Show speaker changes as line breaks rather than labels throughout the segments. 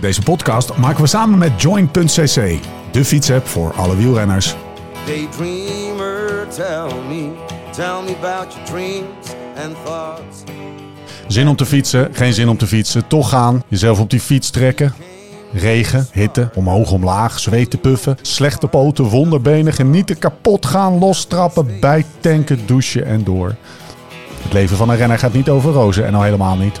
Deze podcast maken we samen met Join.cc, de fietsapp voor alle wielrenners.
Daydreamer, tell me, tell me about your dreams and thoughts.
Zin om te fietsen, geen zin om te fietsen, toch gaan, jezelf op die fiets trekken. Regen, hitte, omhoog, omlaag, zweet te puffen, slechte poten, wonderbenen, genieten, kapot gaan, lostrappen, bijtanken, douchen en door. Het leven van een renner gaat niet over rozen en al helemaal niet.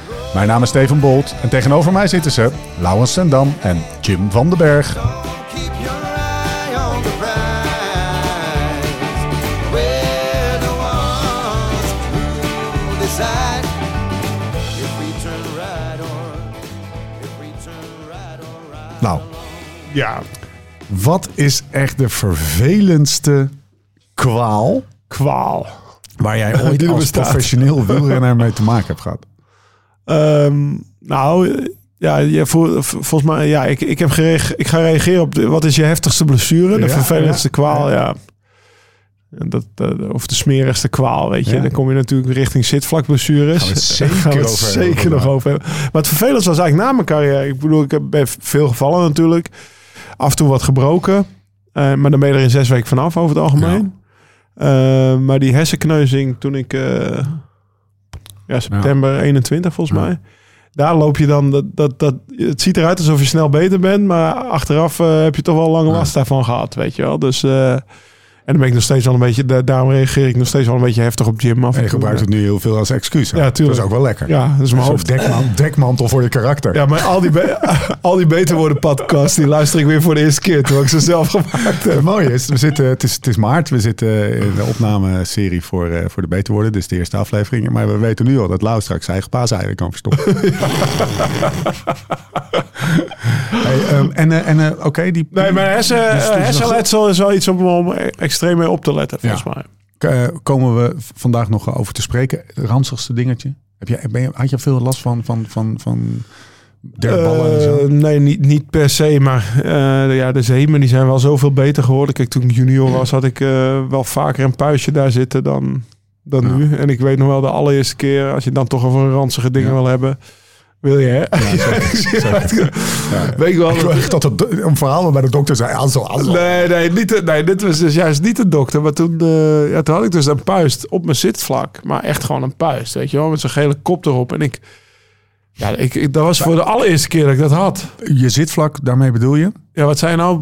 Mijn naam is Steven Bolt en tegenover mij zitten ze Lauwens Sendam en Jim van den Berg.
Keep your eye on the prize. We're the ones who decide if we turn right or if we turn right or right.
Nou, ja. Wat is echt de vervelendste kwaal
kwaal.
waar jij ooit
Die er
als
bestaat.
professioneel wielrenner mee te maken hebt gehad?
Ehm, nou, eh, ja, je voelt- v- volgens mij, ja, ik, ik, heb gerege- ik ga reageren op de, wat is je heftigste blessure? De
Ja,
vervelendste
ja,
kwaal, ja. En Dat, eh, of de smerigste kwaal, weet je.
Ja.
Dan kom je natuurlijk richting zitvlakblessures.
Gaan we het zeker
Daar gaan we het
over hebben
zeker nog
vandaag.
over hebben. Maar het vervelendste was eigenlijk na mijn carrière. Ik bedoel, ik heb bij veel gevallen natuurlijk. Af en toe wat gebroken. Eh, maar dan ben je er in zes weken vanaf over het algemeen. Eh, maar die hersenkneuzing toen ik... eh, ja, september 21 volgens
Ja.
mij. Daar loop je dan, dat, dat, dat, het ziet eruit alsof je snel beter bent, maar achteraf eh, heb je toch wel lange
Ja.
last daarvan gehad, weet je wel. Dus, eh, en dan ben ik nog steeds wel een beetje, da- daarom reageer ik nog steeds wel een beetje heftig op Jim af.
En
en
je
toe.
gebruikt het nu heel veel als excuus. hè?
Ja, tuurlijk.
Dat is ook wel lekker.
Ja, dat is mijn
Zo'n
hoofd.
dekman- dekmantel voor je karakter.
Ja, maar al die, be- al die Beter Worden podcast, die luister ik weer voor de eerste keer, terwijl ik ze zelf gemaakt heb.
Het mooie is, we zitten, het, is, het is maart, we zitten in de opnameserie voor, eh, voor de Beter Worden, dus de eerste aflevering. Maar we weten nu al dat Lau straks zijn eigen paaseieren kan verstoppen. Hey, ehm, en eh, en eh, oké, die...
Nee, maar hersen,
Dus- dus-
hersenletsel is wel iets om, om extreem mee op te letten, volgens
Ja.
mij.
eh, komen we v- vandaag nog over te spreken. Het ranzigste dingetje. Heb jij, ben je, had je veel last van, van, van, van derballen en
Eh,
zo?
nee, niet, niet per se. Maar eh, ja, de zeemen die zijn wel zoveel beter geworden. Kijk, toen ik junior was, had ik eh, wel vaker een puistje daar zitten dan, dan
Ja.
nu. En ik weet nog wel de allereerste keer, als je het dan toch over ranzige dingen
Ja.
wil hebben. Wil je, hè?
Ja, zeker, zeker. Ja.
Weet ik wel.
Ik
dat-
wil echt dat het een verhaal waarbij de dokter zei, Ansel, Ansel.
Nee, nee, niet de- nee, dit was dus juist niet de dokter. Maar toen, eh, ja, toen had ik dus een puist op mijn zitvlak. Maar echt gewoon een puist, weet je wel. Met zo'n gele kop erop. En ik... Ja, ik, ik- dat was voor de allereerste keer dat ik dat had.
Je zitvlak, daarmee bedoel je?
Ja, wat zijn nou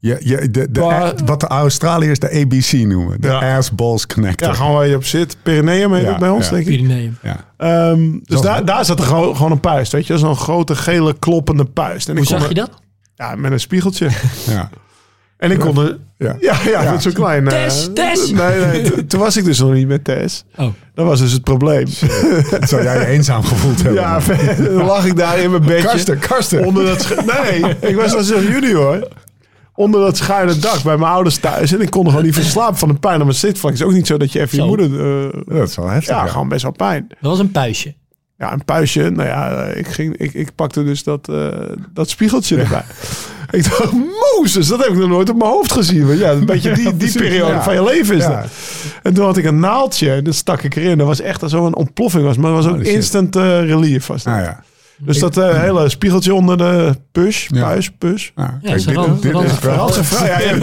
Ja, ja, de, de,
Maar-
eh, wat de Australiërs de ABC noemen. De
Ja.
ass balls connector.
Ja, gewoon waar je op zit. Pyreneeën heet
Ja,
het bij ons,
ja.
denk ik.
Pyreneeën.
Ja.
Ehm, dus
Zo.
daar, daar zat er gewoon, gewoon een puist, weet je. Zo'n grote, gele, kloppende puist. En
Hoe
ik kon
zag je
er-
dat?
Ja, met een spiegeltje.
Ja.
en ik kon er...
Ja.
Ja, ja,
Ja.
met zo'n klein... eh,
Tess, Tess!
Nee, nee, t- toen was ik dus nog niet met Tess.
Oh.
Dat was dus het probleem.
Dat zou jij je eenzaam gevoeld hebben.
Ja, dan lag ik daar in mijn bedje.
Karsten, Karsten.
Onder dat schu- nee, ik was als een junior. Onder dat schuine dak bij mijn ouders thuis. En ik kon er gewoon niet van slapen van de pijn aan mijn zitvlak. Het is ook niet zo dat je even je
Zo.
moeder... eh,
dat is wel heftig.
ja,
Ja,
gewoon best wel pijn.
Dat was een puistje.
Ja, een puistje. Nou ja, ik, ging, ik, ik pakte dus dat, eh, dat spiegeltje erbij. Ik dacht, Mozes, dat heb ik nog nooit op mijn hoofd gezien. Want ja, een beetje die, die
precies,
periode
ja.
van je leven is
Ja.
dat. En toen had ik een naaldje en dat stak ik erin. Dat was echt alsof een ontploffing was. Maar het was ook
Oh, shit.
instant eh, relief. Was dat.
Nou ja.
Dus dat eh, hele spiegeltje onder de push,
Ja.
puis, push.
Nou, kijk,
is een
dit-
rand-
dit
rand-
is wel- Nou,
rand-
Radse vrouw. Ja, je,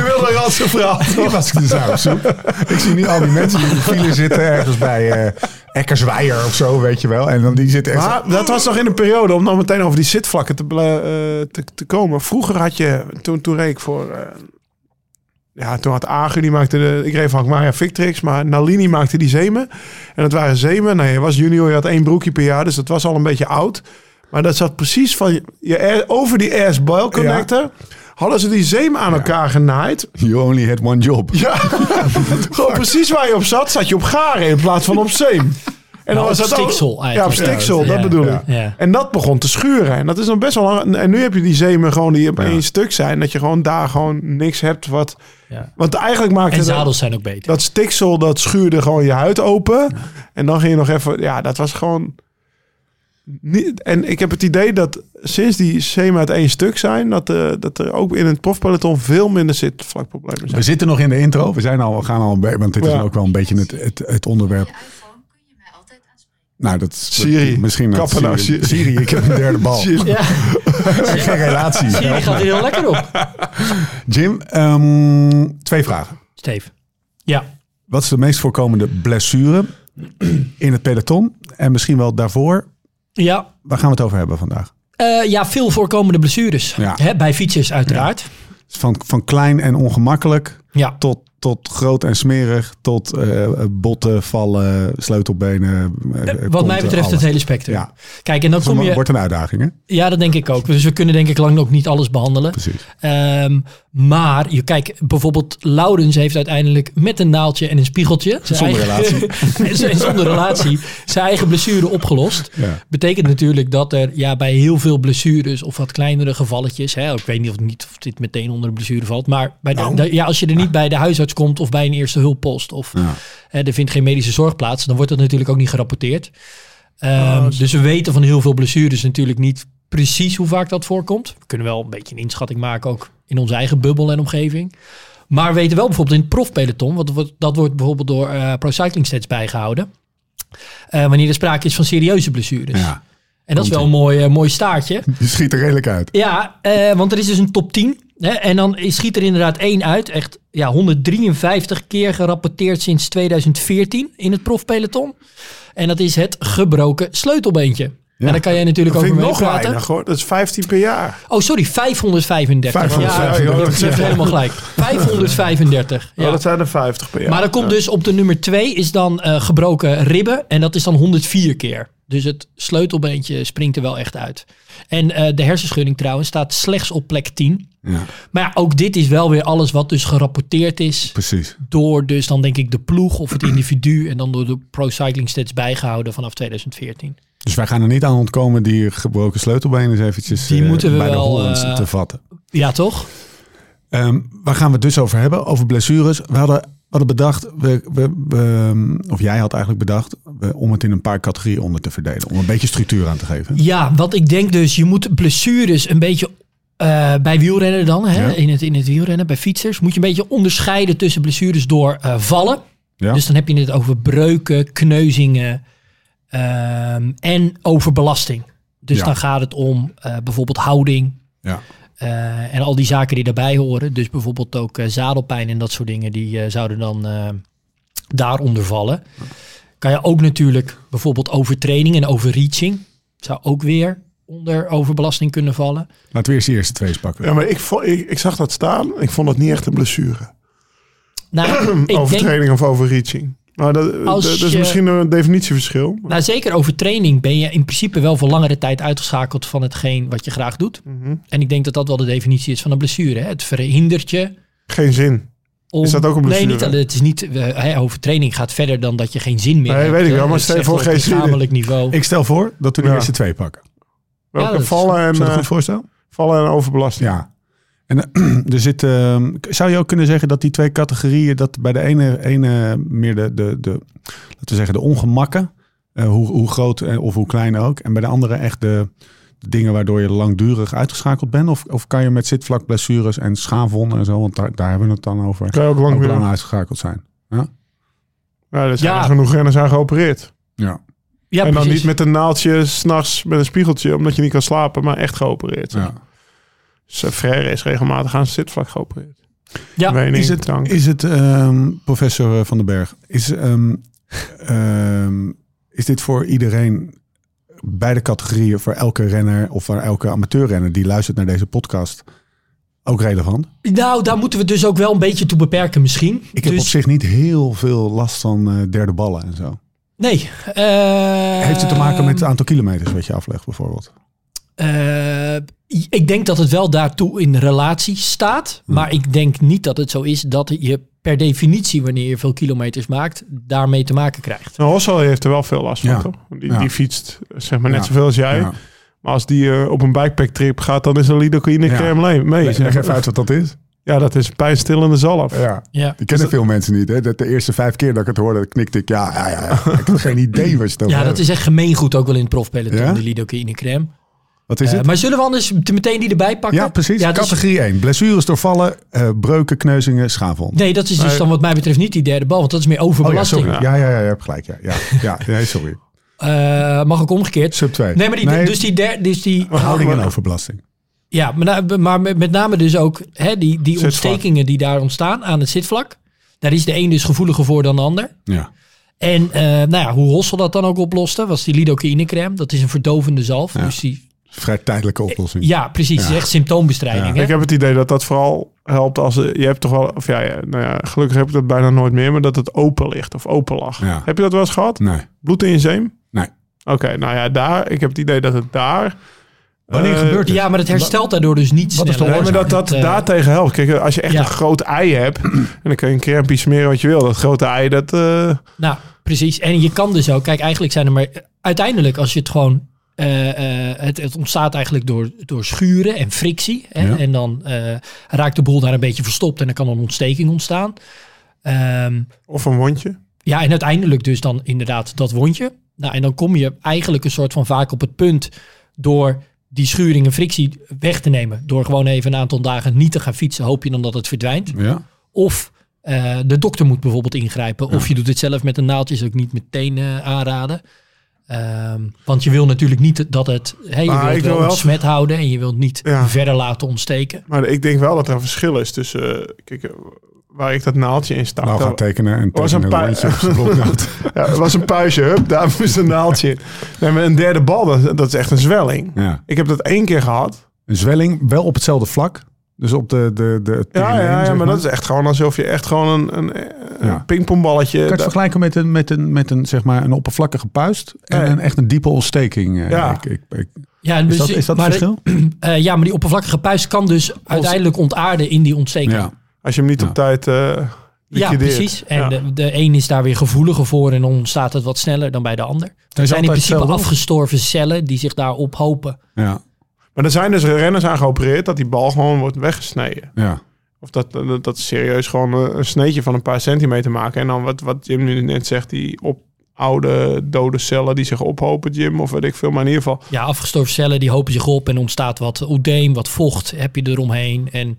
je wilde een radse vrouw.
Hier was ik dus de zuipsoep. Ik zie nu al die mensen die in de file zitten ergens bij eh Eckersweijer of zo, weet je wel. En dan die zitten echt...
Maar dat was nog in een periode om dan meteen over die zitvlakken te, ble- eh, te, te komen. Vroeger had je, toen, toen reed ik voor... eh, ja, toen had Agu, die maakte de... Ik reed van Maria Victrix, maar Nalini maakte die zemen. En dat waren zemen. Nee, je was junior, je had één broekje per jaar, dus dat was al een beetje oud. Maar dat zat precies van je, je air- over die ass-bile connector... Hadden ze die zeem aan elkaar genaaid.
You only had one job.
Ja, gewoon precies waar je op zat, zat je op garen in plaats van op zeem. En
Nou,
dan was
op
dat ook-
stiksel
Ja, op
eigenlijk.
stiksel,
Ja,
dat bedoel
ja.
ik.
Ja.
En dat begon te schuren. En dat is dan best wel lang. En nu heb je die zeemen gewoon die op
Ja.
één stuk zijn. Dat je gewoon daar gewoon niks hebt wat...
Ja.
Want eigenlijk maakt
En
het...
zadels zijn ook beter.
Dat stiksel, dat schuurde gewoon je huid open. En dan ging je nog even... Ja, dat was gewoon... Niet, en ik heb het idee dat sinds die zeemen uit één stuk zijn... Dat, eh, dat er ook in het profpeloton veel minder zitvlakproblemen
We
zijn.
zitten nog in de intro. We zijn al, we gaan al een beetje, want dit is
Ja.
ook wel een beetje het, het, het
Met
onderwerp.
je iPhone kun je mij altijd aanspreken.
Nou, dat is
Siri.
Misschien dat
Kappen nou,
Siri.
Siri.
Siri, ik heb een derde bal.
Ja,
Geen relatie.
Siri gaat er heel lekker op.
Jim, ehm, twee vragen.
Steve. Ja.
Wat is de meest voorkomende blessure in het peloton? En misschien wel daarvoor.
Ja,
Waar gaan we het over hebben vandaag?
Eh, ja, veel voorkomende blessures.
Ja.
Hè, bij fietsers uiteraard.
Van, van klein en ongemakkelijk
Ja.
tot, tot groot en smerig. Tot eh, botten, vallen, sleutelbenen. eh,
Wat
konten,
mij betreft
alles.
het hele spectrum.
Ja.
Kijk, en dan kom
Het
je...
wordt een uitdaging, hè?
Ja, dat denk ik ook. Dus we kunnen denk ik lang nog niet alles behandelen.
Precies.
Ehm, maar, je kijk, bijvoorbeeld Laurens heeft uiteindelijk met een naaltje en een spiegeltje... zijn
Zonder
eigen- zijn- zonder relatie zijn eigen blessure opgelost.
Ja.
Betekent natuurlijk dat er ja, bij heel veel blessures of wat kleinere gevalletjes... Hè, ik weet niet of, niet of dit meteen onder een blessure valt... maar bij de-
Nou.
de- ja, als je er niet bij de huisarts komt of bij een eerste hulppost... of
Ja.
hè, er vindt geen medische zorg plaats... dan wordt dat natuurlijk ook niet gerapporteerd. Ehm,
Oh,
dus we weten van heel veel blessures natuurlijk niet precies hoe vaak dat voorkomt. We kunnen wel een beetje een inschatting maken ook in onze eigen bubbel en omgeving. Maar we weten wel bijvoorbeeld in het profpeloton... want dat wordt- dat wordt bijvoorbeeld door eh, Pro Cycling Stats bijgehouden... eh, wanneer er sprake is van serieuze blessures.
Ja.
En dat is wel een mooi, eh, mooi staartje.
Je schiet er redelijk uit.
Ja, eh, want er is dus een top 10. Hè, en dan schiet er inderdaad één uit. Echt ja, 153 keer gerapporteerd sinds 2014 in het profpeloton. En dat is het gebroken sleutelbeentje. en daar kan jij natuurlijk
Dat vind ik
over mee
nog
praten.
weinig hoor. Dat is 15 per jaar.
Oh, sorry, 535.
535,
Ja,
ja,
dat is helemaal gelijk. 535. Ja.
Ja. Oh, dat zijn er 50 per jaar.
Maar dan komt dus op de nummer 2 is dan eh, gebroken ribben. En dat is dan 104 keer. Dus het sleutelbeentje springt er wel echt uit. En eh, de hersenschudding trouwens staat slechts op plek 10.
Ja,
Maar ja, ook dit is wel weer alles wat dus gerapporteerd is.
precies.
Door dus dan denk ik de ploeg of het individu. En dan door de Pro Cycling Stats bijgehouden vanaf 2014.
Dus wij gaan er niet aan ontkomen die gebroken sleutelbeen eens eventjes
Die
eh,
moeten we
bij de
wel,
Hollands
eh,
te vatten.
Ja, toch?
Ehm, waar gaan we het dus over hebben? Over blessures. We hadden, we hadden bedacht, we, we, we, ehm, of jij had eigenlijk bedacht, we- om het in een paar categorieën onder te verdelen. Om een beetje structuur aan te geven.
Ja, wat ik denk dus, je moet blessures een beetje eh, bij wielrennen dan, hè,
Ja.
in, het, in het wielrennen, bij fietsers, moet je een beetje onderscheiden tussen blessures door eh, vallen.
Ja.
Dus dan heb je het over breuken, kneuzingen ehm, en over belasting. Dus
Ja.
dan gaat het om eh, bijvoorbeeld houding
Ja.
eh, en al die zaken die daarbij horen. Dus bijvoorbeeld ook eh, zadelpijn en dat soort dingen, die eh, zouden dan eh, daaronder vallen. Kan je ook natuurlijk bijvoorbeeld overtraining en overreaching. Zou ook weer onder overbelasting kunnen vallen.
Laten we eerst de eerste twee eens pakken.
Ja, maar ik, vo- ik, ik zag dat staan. Ik vond dat niet echt een blessure.
Nou, ik denk,
Overtreding of overreaching. Maar dat,
Als
dat is
je-
misschien een definitieverschil.
nou, zeker overtraining ben je in principe wel voor langere tijd uitgeschakeld van hetgeen wat je graag doet.
Mhm.
En ik denk dat dat wel de definitie is van een blessure. Hè? Het verhindert je
Geen zin.
om...
Is dat ook een blessure?
Nee, niet, alleen- het is niet, eh, hè, overtraining gaat verder dan dat je geen zin meer
Nee,
hebt.
weet ik
hè.
wel, maar
Het is
stel je
echt
voor
op
geen zin in.
lichamelijk niveau.
Ik stel voor dat we de
Ja.
eerste twee pakken. Is
Welke
dat is-
vallen, en,
dat een
eh,
goed voorstel?
vallen en overbelasting.
Ja. En eh, er zit, ehm, k- zou je ook kunnen zeggen dat die twee categorieën, dat bij de ene, ene meer de, de, de, laten we zeggen, de ongemakken, eh, hoe, hoe groot eh, of hoe klein ook, en bij de andere echt de, de dingen waardoor je langdurig uitgeschakeld bent? Of, of kan je met zitvlak blessures en schaafwonden en zo, want daar, daar hebben we het dan over,
Kan je ook lang
ook
weer.
lang uitgeschakeld zijn?
Ja, er zijn
Ja.
er genoeg renners zijn geopereerd.
Ja.
Ja,
en dan
precies.
niet met een naaldje, s'nachts met een spiegeltje, omdat je niet kan slapen, maar echt geopereerd.
ja.
Dus, eh, Frère is regelmatig aan zijn zitvlak geopereerd.
Ja,
Wening,
is het-
drank.
Is het, ehm, professor eh, Van den Berg, is, ehm, ehm, is dit voor iedereen, beide categorieën, voor elke renner of voor elke amateurrenner die luistert naar deze podcast, ook relevant?
Nou, daar moeten we dus ook wel een beetje toe beperken misschien.
Ik heb
dus,
op zich niet heel veel last van eh, derde ballen en zo.
Nee. eh,
Heeft het te maken met het aantal kilometers wat je aflegt bijvoorbeeld?
eh, Eh, ik denk dat het wel daartoe in relatie staat.
Hmm.
Maar ik denk niet dat het zo is dat je per definitie, wanneer je veel kilometers maakt, daarmee te maken krijgt.
Nou, Hossel heeft er wel veel last van,
Ja.
toch? Die,
Ja.
die fietst eh, zeg maar net
Ja.
zoveel als jij.
Ja.
Maar als die eh, op een bikepacktrip gaat, dan is er lidocaïne
Ja.
crème mee. mee
Leg
zeg
leg
maar.
even uit wat dat is.
Ja, dat is pijnstillende zalf.
Ja.
Ja.
Die kennen veel mensen niet. Hè? Dat de eerste vijf keer dat ik het hoorde, knikte ik. Ja, ja, ja. ja. ik had geen idee wat je het over
Ja, dat
hebt.
is echt gemeengoed ook wel in het profpeloton,
Ja?
de lidocaïne crème.
Wat is
Eh,
het?
maar zullen we anders te- meteen die erbij pakken?
ja, precies.
Ja, dus- dat is-
Categorie 1. Blessures doorvallen, eh, breuken, kneuzingen, schaafwond.
nee, dat is dus
Nee.
dan wat mij betreft niet die derde bal, want dat is meer
Oh ja,
overbelasting.
sorry. Ja, ja, ja, je hebt gelijk. Ja, ja, ja. Nee, sorry.
Eh, mag ook omgekeerd.
Sub 2.
Nee, maar die, dus die der, dus die
houding en overbelasting.
Ja, maar, na- maar met met name dus ook hè, die, die
Zitvlak.
ontstekingen die daar ontstaan aan het zitvlak. Daar is de een dus gevoeliger voor dan de ander.
Ja.
En eh, nou ja, hoe Hossel dat dan ook oploste, was die lidocaïnecrème. Dat is een verdovende zalf. Dus die,
Vrij tijdelijke oplossing.
ja, precies. Het is echt symptoombestrijding.
Ik
Hè?
heb het idee dat dat vooral helpt als eh, je hebt toch wel, of ja, ja, nou ja, gelukkig heb ik dat bijna nooit meer, maar dat het open ligt of open lag.
Ja.
Heb je dat wel eens gehad?
Nee.
Bloed in je zeem?
Nee.
Oké, nou ja, daar, ik heb het idee dat het daar.
Wanneer
eh,
gebeurt het?
Ja, maar het herstelt daardoor dus niet
dus. Wat is de
sneller.
Nee, maar dat dat
Het, eh,
daartegen helpt. Kijk, als je echt
ja.
een groot ei hebt, en dan kun je een crème smeren wat je wil. Dat grote ei, dat. eh,
Nou, precies. En je kan dus ook, kijk, eigenlijk zijn er maar uiteindelijk als je het gewoon. eh, eh, het, het ontstaat eigenlijk door, door schuren en frictie. Hè?
Ja.
En dan eh, raakt de boel daar een beetje verstopt en dan kan er een ontsteking ontstaan. Ehm,
of een wondje.
ja, en uiteindelijk dus dan inderdaad dat wondje. Nou, en dan kom je eigenlijk een soort van vaak op het punt door die schuring en frictie weg te nemen. Door gewoon even een aantal dagen niet te gaan fietsen, hoop je dan dat het verdwijnt.
Ja.
Of eh, de dokter moet bijvoorbeeld ingrijpen. Of je doet het zelf met een naaldje, is ook niet meteen eh, aanraden. Ehm, want je wil natuurlijk niet dat het... hè, je
Maar
wilt
ik
het wel
wil wel-
ontsmet houden en je wilt niet
Ja.
verder laten ontsteken.
Maar ik denk wel dat er een verschil is tussen. eh, kijk, eh, waar ik dat naaldje in stak.
Nou,
dat-
gaat tekenen en
was
tekenen
een pui-
rondje op zijn bloknoot.
ja, het was een puistje, hup, daar moest een naaldje in. Nee, maar een derde bal, dat, dat is echt een zwelling.
Ja.
Ik heb dat één keer gehad.
Een zwelling, wel op hetzelfde vlak. Dus op de... de, de het
Ja, ja,
perineum,
ja,
zeg
maar dat is echt gewoon alsof je echt gewoon een, een, een
Ja.
pingpongballetje...
Kan je het
dat-
vergelijken met een, met een, met een, zeg maar een oppervlakkige puist en
Nee.
een, echt een diepe ontsteking? eh,
Ja.
Ik, ik, ik-
Ja,
is,
dus-
dat, is dat het
maar,
verschil?
eh, ja, maar die oppervlakkige puis kan dus uiteindelijk ontaarden in die ontsteking. Ja,
Als je hem niet
Ja.
op tijd eh liquideert.
precies. En eh,
Ja.
de, de een is daar weer gevoeliger voor en dan ontstaat het wat sneller dan bij de ander. Er zijn in
altijd
principe
hetzelfde.
afgestorven cellen die zich daar ophopen.
Ja.
Maar er zijn dus renners aan geopereerd dat die bal gewoon wordt weggesneden.
Ja.
Of dat, dat, dat serieus gewoon eh, een sneetje van een paar centimeter maken. En dan wat, wat Jim nu net zegt, die op oude dode cellen die zich ophopen, Jim, of weet ik veel. Maar in ieder geval,
Ja, afgestorven cellen die hopen zich op en ontstaat wat oedeem, wat vocht heb je eromheen. En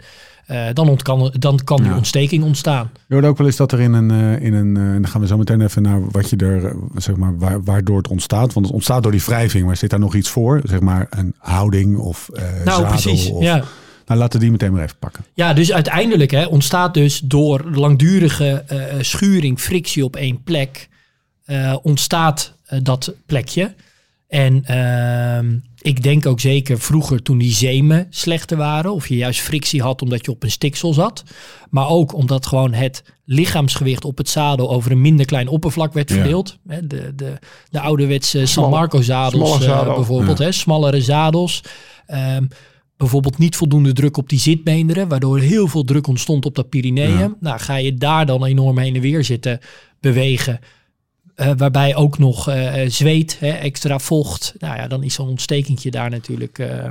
eh, dan, ontkan, dan kan die
Ja.
ontsteking ontstaan.
Je hoort ook wel eens dat er in een, eh, in een eh, en dan gaan we zo meteen even naar wat je er, eh, zeg maar, waar- waardoor het ontstaat. Want het ontstaat door die wrijving, maar zit daar nog iets voor? Zeg maar een houding of eh
nou,
zadel
precies.
Of,
Ja.
Nou, laten we die meteen maar even pakken.
ja, dus uiteindelijk hè, ontstaat dus door langdurige eh, schuring, frictie op één plek, eh, ontstaat eh, dat plekje. En ehm, ik denk ook zeker vroeger toen die zemen slechter waren, of je juist frictie had omdat je op een stiksel zat. Maar ook omdat gewoon het lichaamsgewicht op het zadel over een minder klein oppervlak werd verdeeld. Hè, De, de, de ouderwetse San
Smalle-
Marco zadels
smalle
eh,
zadel.
bijvoorbeeld, hè, smallere zadels. Ehm, bijvoorbeeld niet voldoende druk op die zitbeenderen, waardoor heel veel druk ontstond op dat Pyreneeën. Nou, ga je daar dan enorm heen en weer zitten bewegen. Eh, waarbij ook nog eh, eh, zweet, hè, extra vocht. Nou ja, dan is zo'n ontstekentje daar natuurlijk eh,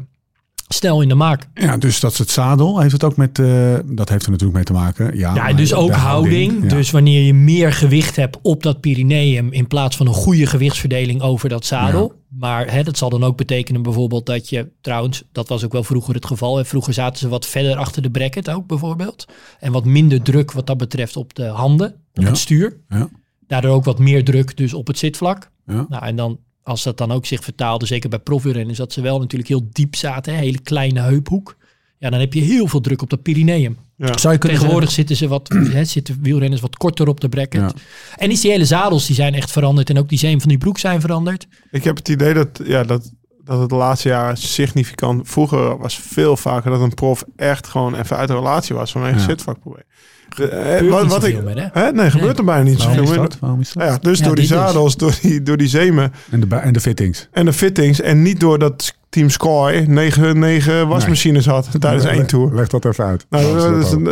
snel in de maak.
Ja, dus dat is het zadel. Heeft het ook met, eh, dat heeft er natuurlijk mee te maken. Ja,
Ja,
maar
dus
de
ook houding.
ja.
Dus wanneer je meer gewicht hebt op dat Pyreneeën in plaats van een goede gewichtsverdeling over dat zadel. Maar hè, dat zal dan ook betekenen bijvoorbeeld dat je, trouwens, dat was ook wel vroeger het geval. Hè, vroeger zaten ze wat verder achter de bracket ook bijvoorbeeld. En wat minder druk wat dat betreft op de handen, op
Ja.
het stuur.
Ja.
Daardoor ook wat meer druk dus op het zitvlak.
Ja.
Nou, en dan als dat dan ook zich vertaalde, zeker bij profwielrenners, dat ze wel natuurlijk heel diep zaten. Hè, hele kleine heuphoek. Ja, dan heb je heel veel druk op dat Pyreneeën.
Zou je kunnen
Tegenwoordig zitten ze wat, hè, zitten wielrenners wat korter op de bracket.
Ja.
En is die hele zadels die zijn echt veranderd. En ook die zeem van die broek zijn veranderd.
Ik heb het idee dat, ja, dat, dat het de laatste jaar significant... Vroeger was veel vaker dat een prof echt gewoon even uit de relatie was vanwege
Ja.
zitvakprobleem. Ge- eh,
Gebeurt
wat,
niet
wat ik,
zoveel meer, hè?
hè? Nee, gebeurt
Nee.
er bijna niet
zeggen- Waarom
zoveel meer.
is dat? Waarom is dat?
Nou ja, dus
Ja,
door die
dit dus.
zadels, door die, door die zemen
En, de, bu- en de fittings.
en de fittings en niet door dat Team Sky 9, 9 wasmachines had tijdens één tour.
Leg dat even uit.
Nou, dat, is een,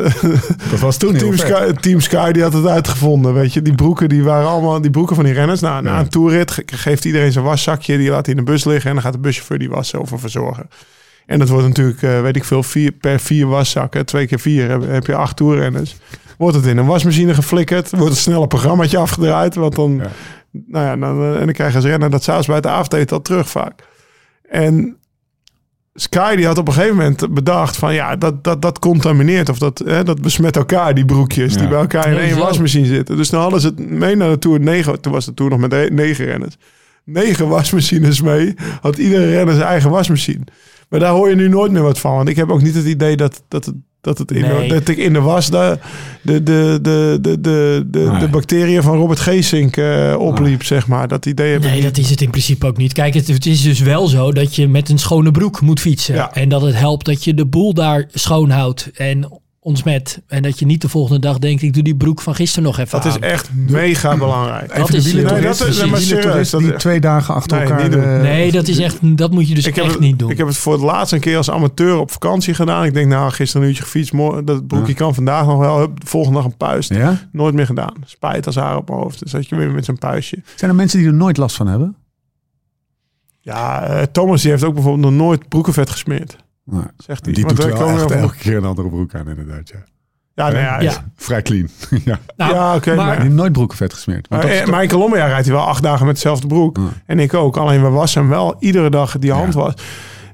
dat was toen
Team, Sky, Team Sky die had het uitgevonden, weet je. Die broeken, die waren allemaal, die broeken van die renners. Nou, na een toerrit ge- geeft iedereen zijn waszakje, die laat hij in de bus liggen en dan gaat de buschauffeur die wassen of een verzorger. En dat wordt natuurlijk, eh, weet ik veel, vier, per vier waszakken, twee keer vier, heb, heb je acht toerrenners. Wordt het in een wasmachine geflikkerd, wordt het snel een programmaatje afgedraaid, want dan,
Ja.
nou ja, dan, eh, en dan krijgen ze renner dat zelfs bij het avondeten al terug vaak. En Sky die had op een gegeven moment bedacht van ja, dat, dat, dat contamineert of dat, hè, dat besmet elkaar, die broekjes die
Ja.
bij elkaar in
Nee,
één
zo.
wasmachine zitten. Dus toen hadden ze het mee naar de Tour 9, toen was de Tour nog met de- negen renners. Negen wasmachines mee, had iedere renner zijn eigen wasmachine. Maar daar hoor je nu nooit meer wat van, want ik heb ook niet het idee dat, dat, het, dat, het in
Nee.
de, dat ik in de was de, de, de, de, de, de, de,
Nee.
de bacteriën van Robert Geesink eh, opliep, zeg maar. Dat idee heb ik
Nee,
niet.
dat is het in principe ook niet. Kijk, het, het is dus wel zo dat je met een schone broek moet fietsen.
Ja.
En dat het helpt dat je de boel daar schoon houdt en ontsmet. En dat je niet de volgende dag denkt, ik doe die broek van gisteren nog even
Dat
aan.
is echt mega belangrijk.
Dat is-
Nee,
dat
dat
is-
is, nee, maar
precies.
serieus, dat
die
is-
twee dagen achter
Nee,
elkaar.
niet doen.
eh,
nee, dat is echt, dat moet je dus echt
het,
niet doen.
Ik heb het voor het laatst een keer als amateur op vakantie gedaan. Ik denk, nou, gisteren een uurtje gefietst. Morgen, dat broekje kan vandaag nog wel. Hup, de volgende dag een puist.
Ja?
Nooit meer gedaan. Spijt als haar op mijn hoofd. Dus dat je weer met zo'n puistje.
Zijn er mensen die er nooit last van hebben?
Ja, eh, Thomas die heeft ook bijvoorbeeld nog nooit broekenvet gesmeerd.
Nee.
Zegt hij.
Die
Want
doet
wij
wel
komen
echt
wel-
elke keer een andere broek aan, inderdaad. Ja.
Ja, nou ja.
Ja.
Vrij clean. ja.
Nou,
ja, oké,
maar-
maar-
Die heeft nooit broekenvet gesmeerd. Want
Maar,
dat is
eh, maar in Colombia rijdt hij wel acht dagen met dezelfde broek.
Mm.
En ik ook. Alleen we wassen hem wel iedere dag die hand was.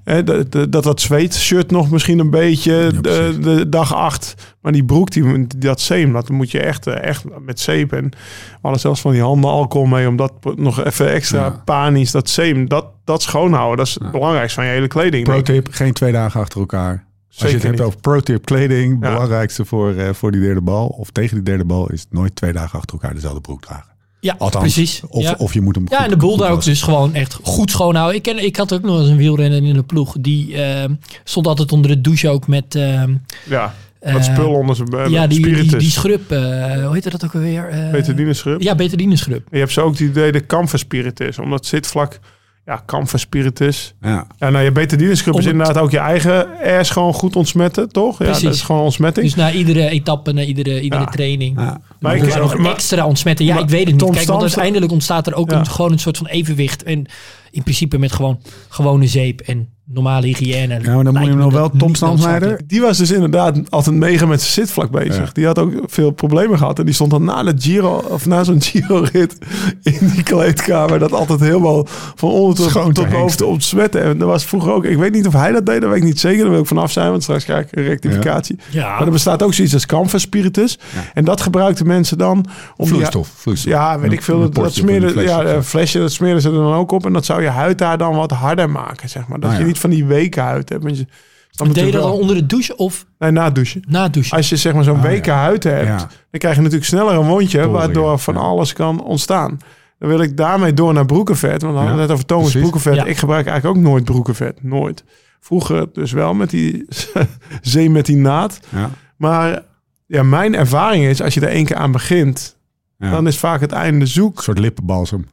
Eh, dat, dat- dat dat zweetshirt nog misschien een beetje de,
precies.
de dag acht. Maar die broek, die, die- dat zeem, dat moet je echt, eh, echt met zeep. En we hadden zelfs van die handen alcohol mee. Om dat pro- nog even extra
Ja.
panisch, dat zeem, dat, dat schoonhouden. Dat is het belangrijkste van je hele kleding.
pro tip, geen twee dagen achter elkaar. Als je het
Zeker
hebt
niet.
over pro tip kleding,
Ja.
belangrijkste voor, eh, voor die derde bal of tegen die derde bal is nooit twee dagen achter elkaar dezelfde broek dragen.
ja,
Althans,
precies.
Of,
ja.
of je moet hem.
Ja, en de boel daar ook dus gewoon echt goed schoonhouden. Ik, ken, ik had ook nog eens een wielrenner in de ploeg. Die ehm, stond altijd onder de douche ook met... ehm,
Ja, dat
eh,
spul onder zijn eh,
ja, die, die,
spiritus.
die scrub. eh, hoe heette dat ook alweer? Eh,
Betadine schrup.
Ja, betadine scrub.
Je hebt zo ook het idee de kamferspiritus. Omdat zitvlak, ja, kamferspiritus...
dus.
Ja.
Ja, nou, je betadineschub
Om
is
het-
inderdaad ook je eigen ass gewoon goed ontsmetten, toch? Ja,
Precies.
dat is gewoon ontsmetting.
Dus na iedere etappe, na iedere, iedere
Ja.
training.
Ja.
maar
Maar
ik,
nog
maar-
extra ontsmetten. Ja,
maar
ik weet het niet.
Tom
Kijk, want
Stamstra-
uiteindelijk ontstaat er ook
Ja.
een, gewoon een soort van evenwicht. En in principe met gewoon gewone zeep en normale hygiëne.
Ja, maar dan moet je hem nog wel Tom Stamsnijder.
die was dus inderdaad altijd mega met zijn zitvlak bezig.
Ja.
Die had ook veel problemen gehad. En die stond dan na de Giro, of na zo'n Giro-rit in die kleedkamer. Dat altijd helemaal van onder tot,
Schoon te
tot boven
hengsten.
te ontsmetten. En dat was vroeger ook, ik weet niet of hij dat deed, dat weet ik niet zeker. Daar wil ik vanaf zijn, want straks krijg ik een rectificatie.
Ja.
Maar er bestaat ook zoiets als kamferspiritus. En dat gebruikten mensen dan... om die-
Vloeistof. vloeistof.
Ja, weet ik veel. Dat, dat smeren, ja, een flesje, dat smeren ze er dan ook op. En dat zou je huid daar dan wat harder maken, zeg maar. Dat
Ah, ja.
je niet van die weken huid hebt. Want je, dan
Deed je dat
natuurlijk
al
wel-
onder de douche of
Nee, na het douchen.
na het douchen?
Als je zeg maar zo'n weken huid hebt,
Ah, Ja.
dan krijg je natuurlijk sneller een wondje,
Polderen, ja.
waardoor van
Ja.
alles kan ontstaan. Dan wil ik daarmee door naar broekenvet. Want we hadden
Ja,
het net over Thomas
precies.
broekenvet.
Ja.
Ik gebruik eigenlijk ook nooit broekenvet. Nooit. Vroeger dus wel met die zee met die naad.
Ja.
Maar ja, mijn ervaring is, als je er één keer aan begint,
Ja.
dan is vaak het einde zoek.
Een soort lippenbalsem.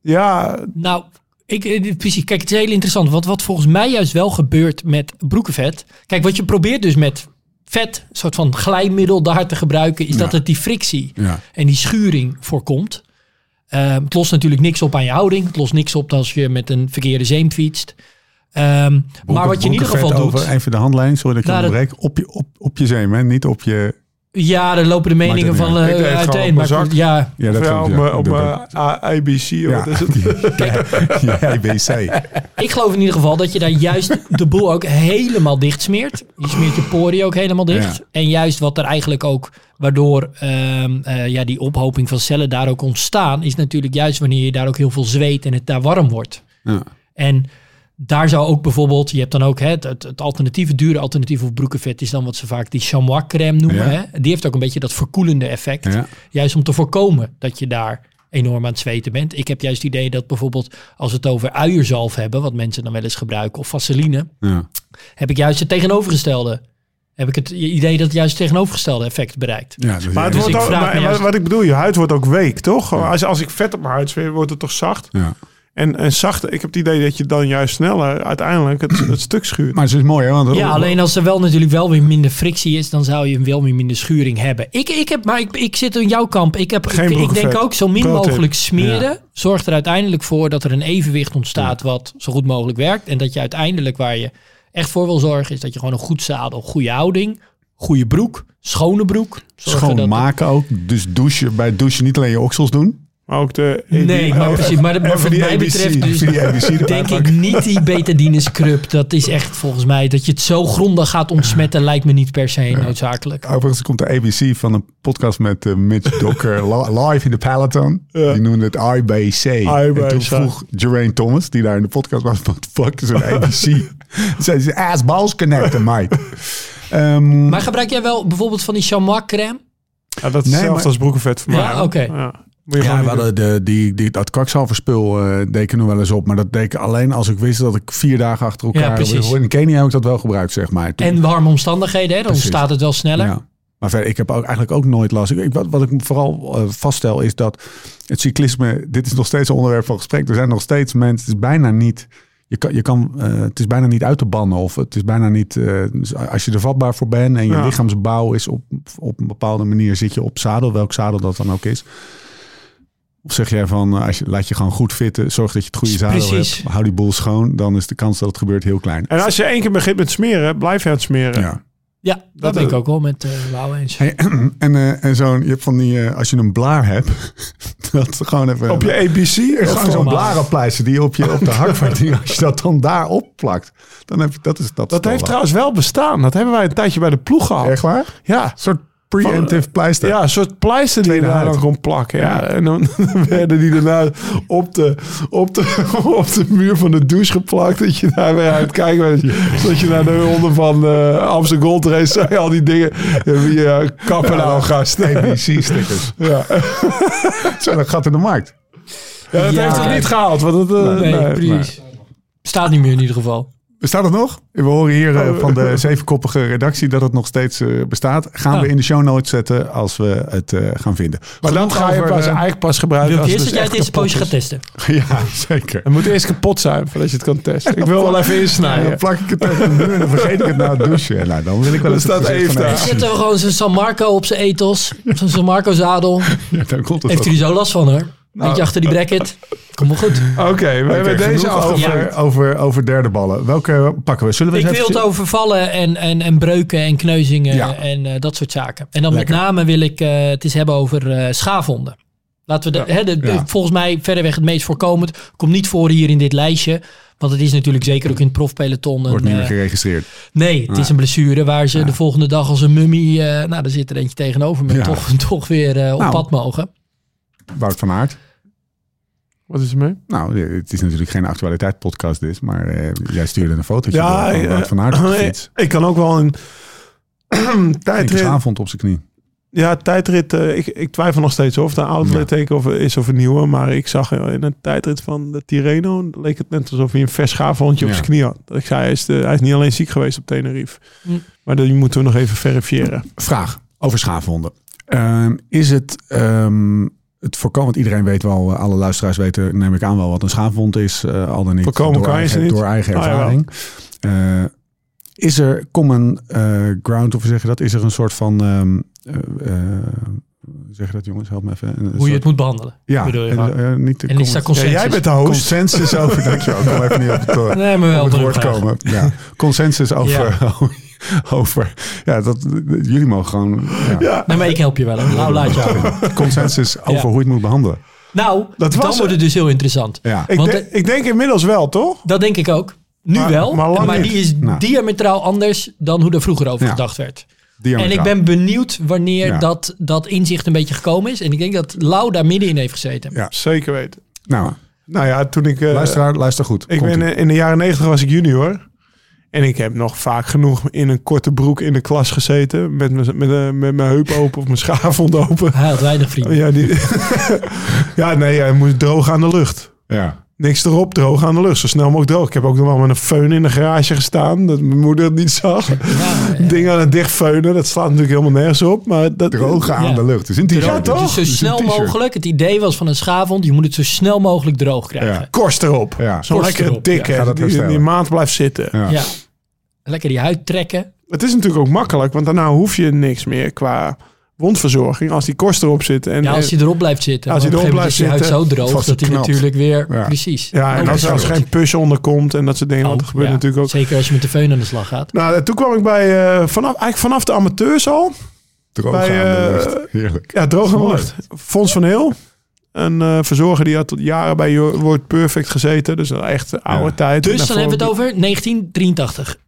Ja,
Nou, ik, eh, dit- precies. Kijk, het is heel interessant. Want wat volgens mij juist wel gebeurt met broekenvet. Kijk, wat je probeert dus met vet, een soort van glijmiddel daar te gebruiken, is dat
Ja.
het die frictie
Ja.
en die schuring voorkomt. Ehm, het lost natuurlijk niks op aan je houding. Het lost niks op als je met een verkeerde zeem fietst. Ehm, maar wat je in
Broekenvet
ieder geval doet.
over, Even de handlijn, sorry dat ik je
Nou, dat-
onderbreek. Op je, op, op je zeem, hè? niet op je...
Ja, daar lopen de meningen
het niet
van
Ik deed
eh
het gewoon
uiteen.
op mijn
Maar
zak.
ja,
Ja,
of ja,
klopt,
op mijn- op
Dat-
mijn A- IBC.
Ja,
Wat is het?
ja, IBC.
ik geloof in ieder geval dat je daar juist de boel ook helemaal dicht smeert. Je smeert je poriën ook helemaal dicht.
Ja.
En juist wat er eigenlijk ook, waardoor ehm, eh, ja, die ophoping van cellen daar ook ontstaan, is natuurlijk juist wanneer je daar ook heel veel zweet en het daar warm wordt.
Ja.
En daar zou ook bijvoorbeeld, je hebt dan ook hè, het, het, het alternatief, het dure alternatief voor broekenvet is dan wat ze vaak die chamois crème noemen.
Ja.
Hè? Die heeft ook een beetje dat verkoelende effect.
Ja.
Juist om te voorkomen dat je daar enorm aan het zweten bent. Ik heb juist het idee dat bijvoorbeeld als we het over uierzalf hebben, wat mensen dan wel eens gebruiken, of vaseline,
Ja.
heb ik juist het tegenovergestelde. Heb ik het idee dat het juist het tegenovergestelde effect bereikt.
Ja, dus
Maar, het
ja,
Dus
wordt
ik
ook,
vraag
maar-
me
maar
juist-
wat ik bedoel, je huid wordt ook week, toch? Als, als ik vet op mijn huid zweer, wordt het toch zacht?
ja.
En, en zacht, ik heb het idee dat je dan juist sneller uiteindelijk het, het stuk schuurt.
Maar het
dus
is mooi, hè? Want
Ja, alleen als er wel natuurlijk wel weer minder frictie is, dan zou je hem wel weer minder schuring hebben. Ik, ik heb, maar ik, ik zit in jouw kamp. Ik, heb,
Geen
ik, ik denk
broekenvet.
ook zo min
Pro-tip.
mogelijk smeren. Zorgt er uiteindelijk voor dat er een evenwicht ontstaat wat zo goed mogelijk werkt. En dat je uiteindelijk waar je echt voor wil zorgen, is dat je gewoon een goed zadel, goede houding, goede broek, schone broek. Zorgen dat-
Schoonmaken ook. Dus douchen, bij douchen niet alleen je oksels doen.
Maar ook de... E
Nee, maar precies. Maar, dat- maar
oh, Even
wat
die
mij
ABC,
betreft dus
even die ABC erbij
denk ik
pakken.
niet die betadine scrub. Dat is echt volgens mij dat je het zo grondig gaat ontsmetten lijkt me niet per se noodzakelijk.
Overigens komt de ABC van een podcast met eh, Mitch Docker li- live in de Peloton. Die noemde het IBC. En toen
IBC.
vroeg Geraint Thomas, die daar in de podcast was, wat fuck is een ABC? Toen zei "Ah, ze, ass balls connecten, mate. Ehm,
Maar gebruik jij wel bijvoorbeeld van die chamois crème?
Ja, dat is
Nee,
hetzelfde
maar-
als broekenvet voor mij.
Ja,
hoor.
oké.
Ja. Moet je
Ja,
gewoon
we
niet doen.
hadden de, die, die, dat kwakzalverspul eh deed ik er nog wel eens op. Maar dat deed ik alleen als ik wist dat ik vier dagen achter elkaar...
Ja, precies.
In Kenia heb ik dat wel gebruikt, zeg maar. Toen-
En warme omstandigheden, hè? dan
Precies.
staat het wel sneller.
Ja. Maar verder, ik heb ook eigenlijk ook nooit last. Ik- Ik, wat, wat ik vooral eh, vaststel is dat het cyclisme, dit is nog steeds een onderwerp van gesprek. Er zijn nog steeds mensen, het is bijna niet, je kan, je kan, eh, het is bijna niet uit te bannen. Of het is bijna niet, eh, dus als je er vatbaar voor bent en je
Ja.
lichaamsbouw is op, op een bepaalde manier, zit je op zadel, welk zadel dat dan ook is. Of zeg jij van, eh, als je, laat je gewoon goed fitten, zorg dat je het goede zadel
Precies.
hebt, hou die boel schoon, dan is de kans dat het gebeurt heel klein.
En als je één keer begint met smeren, blijf je aan het smeren.
Ja.
Ja, dat,
Dat
ben ik
ook.
ook wel met eh Wauw eens.
Hey, en eh, en zo'n, je hebt van die, eh, als je een blaar hebt, dat gewoon even...
Op je ABC?
Er is gewoon zo'n
formaat.
blarenpleister die je op, je op de hak van die, als je dat dan daar opplakt, dan heb je, dat is dat. is
Dat
wel
heeft
wat.
trouwens wel bestaan. Dat hebben wij een tijdje bij de ploeg gehad.
Echt waar? eh,
Ja.
Een soort preemptive pleister.
Ja, een soort pleister die je daar
huid.
dan kon plakken. Ja. En dan werden die daarna op de, op, de, op de muur van de douche geplakt. Dat je daar weer uit kijkt. bent. Zodat je naar de ronde van eh Amsterdam Gold Race... zag je al die dingen. Je, je kappen nou, gast.
ABC-stickers.
Ja.
Zo, dat gaat in de markt.
Ja, dat
Ja,
heeft
oké.
het niet gehaald. Want het, eh,
Nee,
nee.
precies. Staat niet meer in ieder geval.
Bestaat het nog? We horen hier eh, van de zevenkoppige redactie dat het nog steeds eh, bestaat. Gaan we
Ah.
in de show notes zetten als we het eh, gaan vinden.
Maar dan
Genoeg
ga je
over,
pas,
eh,
eigenlijk pas gebruiken.
Wil
als
je eerst
het
dat jij
dus
het
echt
deze poosje
kapot
gaat
is.
testen?
Ja, zeker.
Het moet eerst kapot zijn voordat je het kan testen. Ik wil wel even
En dan
insnijden.
plak ik het tegen de muur en dan vergeet ik het na het douchen. En nou, dan wil ik wel
Dan
eens het
staat
gezicht
Eve
van
daar.
Eve zien.
Zetten we gewoon zo'n San Marco op zijn ethos. Zo'n San Marco zadel.
Ja, dan komt het
Heeft
ook.
jullie zo last van hoor?
Nou,
Beetje achter die bracket. Kom maar goed.
Oké, we
Oké,
hebben deze
genoeg
afgelopen.
over,
Ja.
over, over derde ballen. Welke pakken we? Zullen we
Ik
eens
wil het
eventjes-
over vallen en, en, en breuken en kneuzingen
Ja.
en eh, dat soort zaken. En dan
Lekker.
met name wil ik eh, het eens hebben over eh, schaafhonden. Laten we de, hè, de- de-
Ja.
volgens mij verreweg het meest voorkomend. Komt niet voor hier in dit lijstje. Want het is natuurlijk zeker ook in het profpeloton.
Wordt
een,
niet meer
eh,
geregistreerd.
nee, het is een blessure waar ze de volgende dag als een mummie... eh, nou, daar zit er eentje tegenover me.
Ja.
Toch, toch weer eh, op
Nou.
pad mogen.
Wout van Aert.
Wat is er mee?
Nou, het is natuurlijk geen actualiteit podcast dus, maar eh, jij stuurde een fotootje
Ja,
door van
eh,
Wout van Aert op de
eh,
fiets.
Ik kan ook wel een tijdrit.
Knikkersavond op zijn knie.
Ja, tijdrit. eh, ik, ik twijfel nog steeds of het een oud
Ja.
litteken of, is of een nieuwe. Maar ik zag eh, in een tijdrit van de Tirreno leek het net alsof hij een vers schaafhondje
Ja.
op zijn knie had. Ik zei, hij is, de- hij is niet alleen ziek geweest op Tenerife.
Hm.
Maar die moeten we nog even verifiëren.
Vraag over schaafwonden. Ehm, is het, ehm, het voorkomen, want iedereen weet wel, eh, alle luisteraars weten, neem ik aan wel wat een schaafwond is, eh, al dan niet
Voorkomen
door,
kan je
eigen,
ze niet.
door eigen
Ah, jawel.
ervaring. Eh, is er common eh, ground, of hoe zeg je dat? Is er een soort van, ehm, eh, eh, hoe zeg je dat jongens, help me even. Een
Hoe
soort-
je het moet behandelen.
ja,
bedoel je
eh,
gewoon.
eh, niet de
En is daar
common-
Ja,
consensus?
jij bent de host.
consensus over, dankjewel, kom even niet op het, eh,
Nee, maar wel.
op het
door
woord
elkaar.
komen. Ja. Consensus over, over, ja, dat, jullie mogen gewoon, ja.
Nee, maar ik help je wel. hoor. Nou, laat jou.
consensus over hoe je het moet behandelen.
Nou,
Dat was
dan
het.
wordt het dus heel interessant.
Ja.
Ik,
Want
denk- ik denk inmiddels wel, toch?
Dat denk ik ook. Nu
Maar-
wel,
maar
maar,
lang niet.
die is
Nou.
diametraal anders dan hoe er vroeger over
Ja.
gedacht werd.
Diametraal.
En ik ben benieuwd wanneer
Ja.
dat, dat inzicht een beetje gekomen is. En ik denk dat Lau daar middenin heeft gezeten.
Ja.
Zeker weten.
Nou,
Nou ja, toen ik... eh,
luisteraar, luister goed.
Ik
Komt-ie.
ben, eh, in de jaren negentig was ik junior. En ik heb nog vaak genoeg in een korte broek in de klas gezeten. Met mijn met, eh, met mijn heup open of mijn schaafhond open. Oh,
Hij had weinig vrienden.
Ja, die, ja nee, hij moest droog aan de lucht.
ja.
Niks erop, droog aan de lucht. Zo snel mogelijk droog. Ik heb ook nog wel met een feun in de garage gestaan. Dat mijn moeder het niet zag.
Ja, eh,
Dingen aan het dichtfeunen. Dat slaat natuurlijk helemaal nergens op. Maar dat,
Droog aan
Ja.
de lucht. Het is een t-shirt.
Ja,
Het is
toch?
zo
Het is een
snel
t-shirt.
mogelijk. Het idee was van een schaafwond, je moet het zo snel mogelijk droog krijgen.
Korst erop.
Ja.
Zo'n
Korst
lekkere
erop,
dikke.
ja. Ga dat
die,
herstellen.
die maand blijft zitten.
Ja.
Ja. Lekker die huid trekken.
Het is natuurlijk ook makkelijk. Want daarna hoef je niks meer qua wondverzorging. Als die korst erop zit. En, eh,
Ja, als hij erop blijft zitten.
Als
want
hij
op een
erop
gegeven moment
blijft
is die huid zo droog
vast
dat hij
geknapt.
natuurlijk weer...
Ja.
Precies.
ja, en
Oh,
als,
dat
als er
is
geen pus onder komt en dat soort dingen.
Oh,
want dat gebeurt
ja.
natuurlijk ook.
Zeker als je met de feun aan de slag gaat.
Nou, en toen kwam ik bij, eh, vanaf, eigenlijk vanaf de amateurs al.
Droog aan
Bij,
de
eh,
lucht. Heerlijk.
Ja, droog
Dat
en
is mooi.
lucht. Fons van Heel. Een eh, verzorger die had jaren bij Jo- Word Perfect gezeten. Dus een echt oude
Ja.
tijd.
Dus dan
Daarvoor-
hebben we het over 1983.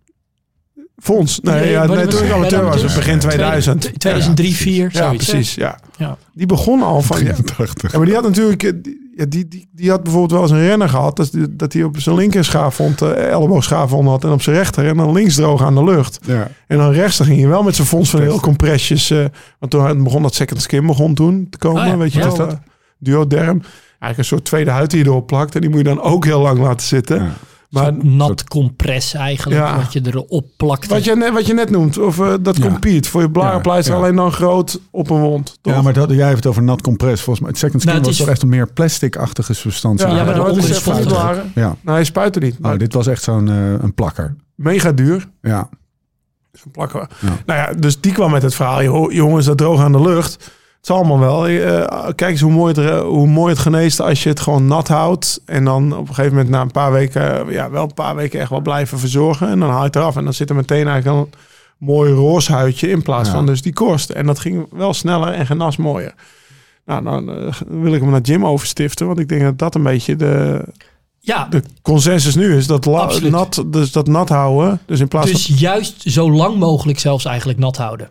Fons. Nee,
Nee,
ja,
wanneer
nee
was
toen
het?
ik
Bij dus
amateur
de
was.
amateurs?
Begin 2000.
2003, 4,
Ja, precies. Ja.
Ja.
Die begon al van... oh, Ja,
83.
maar die had natuurlijk... eh, die- Ja, die, die, die had bijvoorbeeld wel eens een renner gehad. Dat, dat hij op zijn linker schaafwond, eh elleboog schaafwond had. En op zijn rechter. En dan links droog aan de lucht.
Ja.
En dan rechts, dan ging je wel met zijn fonds van heel compressjes. eh, want toen begon dat second skin begon toen te komen.
Oh ja,
Weet je
ja.
wel? eh, Duoderm. Eigenlijk een soort tweede huid die je erop plakt. En die moet je dan ook heel lang laten zitten.
Ja.
Maar
Nat compress eigenlijk,
Ja.
wat je erop plakt.
wat je, net- wat je net noemt, of eh, dat
Ja.
compete voor je blarenpleister
Ja, ja.
alleen dan groot op een wond. Toch?
Ja, maar dat, jij heeft het over nat compress. Volgens mij, het second skin
Nou, het
was
is-
toch echt een meer plastic-achtige substantie.
Ja, maar
dat
daaronder
is
is
echt van
het
die
toch?
blaren.
Ja.
Nou, hij spuit er niet. Maar
Oh, dit was echt zo'n eh, een plakker.
Mega duur.
Ja.
Zo'n plakken we.
Ja.
Nou ja, dus die kwam met het verhaal. "Joh, Jongens, dat droog aan de lucht. Het is allemaal wel. Eh, kijk eens hoe mooi, het, er- hoe mooi het geneest als je het gewoon nat houdt. En dan op een gegeven moment na een paar weken, eh, ja, wel een paar weken echt wel blijven verzorgen. En dan haal je het eraf. En dan zit er meteen eigenlijk al een mooi roze huidje in plaats
Ja.
van dus die korst. En dat ging wel sneller en genas mooier. Nou, dan eh, wil ik hem naar Jim overstiften. Want ik denk dat dat een beetje de,
ja,
de consensus nu is. Dat, la-
Absoluut.
nat, dus dat nat houden. Dus in plaats van
dus juist zo lang mogelijk zelfs eigenlijk nat houden.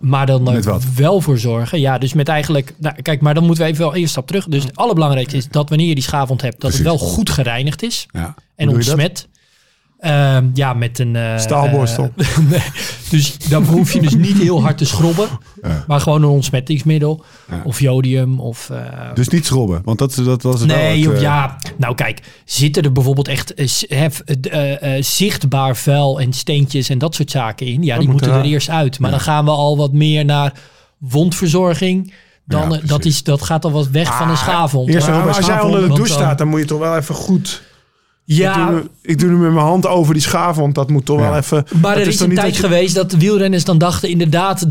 Maar dan
Met
er
wat?
wel voor zorgen. Ja, dus met eigenlijk... Nou, kijk, maar dan moeten we even wel eerst stap terug. Dus het allerbelangrijkste is dat wanneer je die schaafwond hebt... dat het
Precies.
wel goed gereinigd is
ja.
en
Hoe doe je dat?
ontsmet. Ehm, ja, met een... eh,
Staalborstel.
eh, nee, dus dan hoef je dus niet heel hard te schrobben.
Ja.
Maar gewoon een ontsmettingsmiddel.
Ja.
Of jodium of... eh,
Dus niet schrobben, want dat, dat was het wel.
Nee,
het,
joh,
eh,
ja. Nou, kijk, zitten er bijvoorbeeld echt eh, s- hef- eh, eh, zichtbaar vuil en steentjes en dat soort zaken in? Ja, die
moet
moeten
er
er
eh,
aan.
eerst uit. Maar dan gaan we al wat meer naar wondverzorging.
Ja,
Dan, eh, dat,
precies. Ah,
is, dat gaat al wat weg van een schaafwond.
Eerst
Maar-
maar als jij onder de
want
douche
dan-
staat, dan moet je toch wel even goed. Ik,
Ja,
doe, nu- ik doe nu met mijn hand over die schaaf, want dat moet toch
Ja.
wel even.
maar
het
er is
toch
een
niet
tijd
dat je-
geweest dat de wielrenners dan dachten inderdaad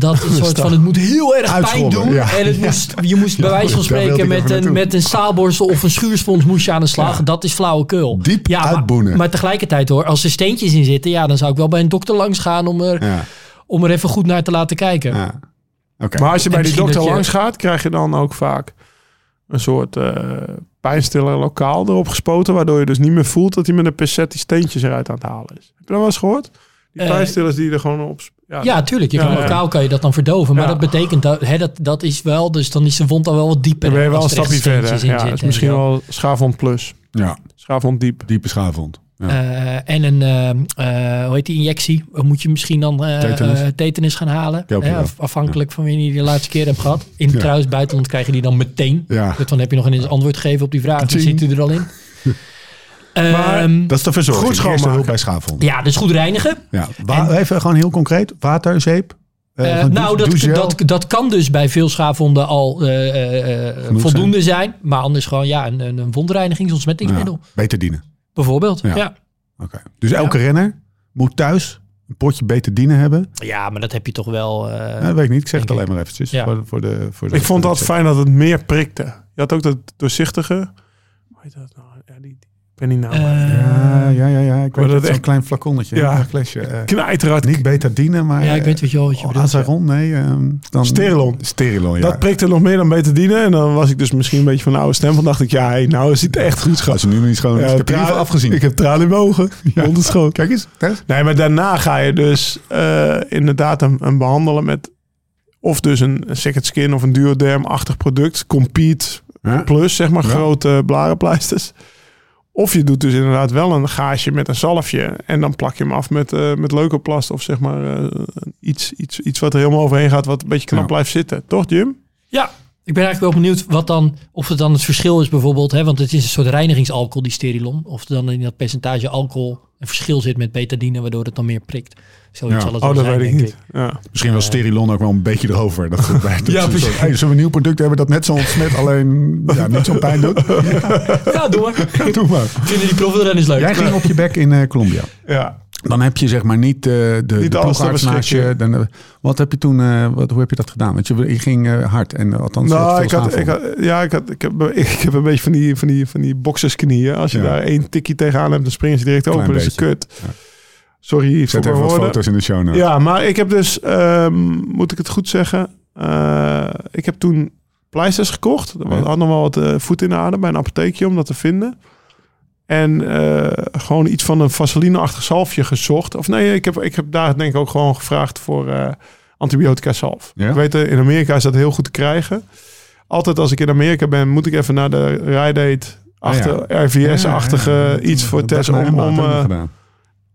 dat het soort van het moet heel erg pijn
Uitschrobben,
doen.
ja.
En het moest, je moest bij wijze van
daar wilde
spreken
ik
met
even
een,
naartoe.
met een staalborstel of een schuurspons moest je aan de slag. Dat is flauwekul.
Diep
maar-
uitboenen.
Maar, tegelijkertijd hoor, als er steentjes in zitten, ja, dan zou ik wel bij een dokter langs gaan om er,
Ja,
om er even goed naar te laten kijken.
ja. Oké.
Maar als je
En
bij die
misschien
dokter
dat je-
langs gaat, krijg je dan ook vaak een soort eh, pijnstiller lokaal erop gespoten. Waardoor je dus niet meer voelt dat hij met een pincet die steentjes eruit aan het halen is. Heb je dat wel eens gehoord? Die
Eh,
pijnstillers die er gewoon op. Ja,
Ja, tuurlijk. Je
Ja,
kan,
ja.
Lokaal kan je dat dan verdoven. Maar
Ja.
dat betekent dat, hè, dat dat is wel. Dus dan is de wond al wel wat dieper.
dan ben je wel een
als er echt
stapje
steentjes
verder.
in
Ja, dat is
zitten en
misschien
zo.
wel schaafhond plus.
ja,
Schaafhond diep.
diepe schaafwond. Ja.
Eh, en een, eh, eh, hoe heet die, injectie? Eh, Moet je misschien dan eh, eh, tetanus.
Tetanus.
gaan halen.
Help je
Hè,
wel.
af- afhankelijk van wanneer je die de laatste keer hebt gehad. In het
Ja.
trouwens buitenland krijg je die dan meteen.
Ja.
Dus dan heb je nog een antwoord gegeven op die vraag. Dan
Ka-ching.
zit u er al in. Ehm,
Dat is de verzorging.
Goed schoonmaken.
Eerste hulp bij schaafwond.
ja, dus goed reinigen.
Ja. Wa- even gewoon heel concreet. Water, zeep. eh,
Eh,
gewoon
nou, dat,
douchegel.
dat, dat kan dus bij veel schaafwonden al eh, eh, eh,
Genoeg
voldoende zijn. Maar anders gewoon ja, een, een, een wondreinigings-ontsmettingsmiddel.
Ja, beter dienen.
Bijvoorbeeld. Ja.
Ja.
Ja.
Oké. Dus elke renner moet thuis een potje beter dienen hebben.
maar dat heb je toch wel... eh,
Ja, dat weet ik niet. Ik zeg het
denk
alleen maar eventjes.
Ja.
Voor, voor de, voor de,
Ik vond
voor
dat
de-
fijn dat het meer prikte. Je had ook dat doorzichtige. Hoe heet dat nou? Ja, die, die- ik ben niet nou, naam.
eh,
Ja, ja, ja. ja. Ik
Maar
weet
dat
dat
echt-
Zo'n klein flaconnetje.
Ja.
Ja. Een flesje. eh,
Knijterhard.
niet beter dienen, maar... eh, oh,
ja, ik weet wat je, wat je bedoelt. ja.
Azaron, nee. ehm, dan,
Sterilon.
Sterilon, ja.
Dat prikte nog meer dan beter dienen. En dan was ik dus misschien een beetje van de oude stem. Van dacht ik, ja, hey, nou is het echt goed
Als
schat.
ze nu niet schoon is,
Ja,
ik heb je in ieder
tranen-
geval afgezien.
Ik heb tranen in mijn ogen. Mond is schoon.
Kijk eens. Tess.
Nee, maar daarna ga je dus eh, inderdaad hem, hem behandelen met... Of dus een, een second skin of een duoderm-achtig product. Compete
Ja.
plus, zeg maar,
Ja.
grote blarenpleisters. Of je doet dus inderdaad wel een gaasje met een zalfje. En dan plak je hem af met, eh met leukoplast. Of zeg maar eh, iets, iets, iets wat er helemaal overheen gaat. Wat een beetje knap
Ja.
blijft zitten. Toch, Jim?
Ja, Ik ben eigenlijk wel benieuwd wat dan, of het dan het verschil is bijvoorbeeld. Hè, want het is een soort reinigingsalcohol, die sterilon. Of er dan in dat percentage alcohol een verschil zit met betadine, waardoor het dan meer prikt. Zoiets
Ja.
zal het
Oh,
wel
dat
zijn,
weet ik
denk
niet. Ja.
Misschien wel Sterilon ook wel een beetje erover. Dat het bij, dat
Ja,
ze
precies.
zo- hey, zullen we een nieuw product hebben dat net zo ontsmet, alleen ja, niet zo pijn doet?
Ja, doe maar.
Doe maar.
Vinden die profielrenners leuk?
Jij ging op je bek in eh, Colombia.
ja.
Dan heb je zeg maar niet eh, de,
Niet
de
alles ter
ploegarts naast je.
beschikking.
Dan, eh, wat heb je toen, eh, wat, hoe heb je dat gedaan? Want je, je ging eh, hard en althans je had
Nou,
veel
ik had,
staan
ik
van.
had, ja, ik, had, ik, heb, ik heb een beetje van die, van die, van die boxersknieën. Als je
Ja.
daar één tikkie tegenaan hebt, dan springen ze direct open. Dat is
beetje.
kut. Sorry, voor
Zet
mijn
even wat
woorden.
foto's in de show notes.
Ja, maar ik heb dus, ehm, moet ik het goed zeggen, eh, ik heb toen pleisters gekocht. Er
Ja.
had nog wel wat eh, voet in de aarde bij een apotheekje om dat te vinden. En eh, gewoon iets van een vaseline-achtig zalfje gezocht. Of nee, ik heb, ik heb daar denk ik ook gewoon gevraagd voor eh, antibiotica zalf.
Ja?
Ik weet, eh, in Amerika is dat heel goed te krijgen. Altijd als ik in Amerika ben, moet ik even naar de rijdate
Ah, ja.
achter RVS-achtige iets voor
test
test om, om eh,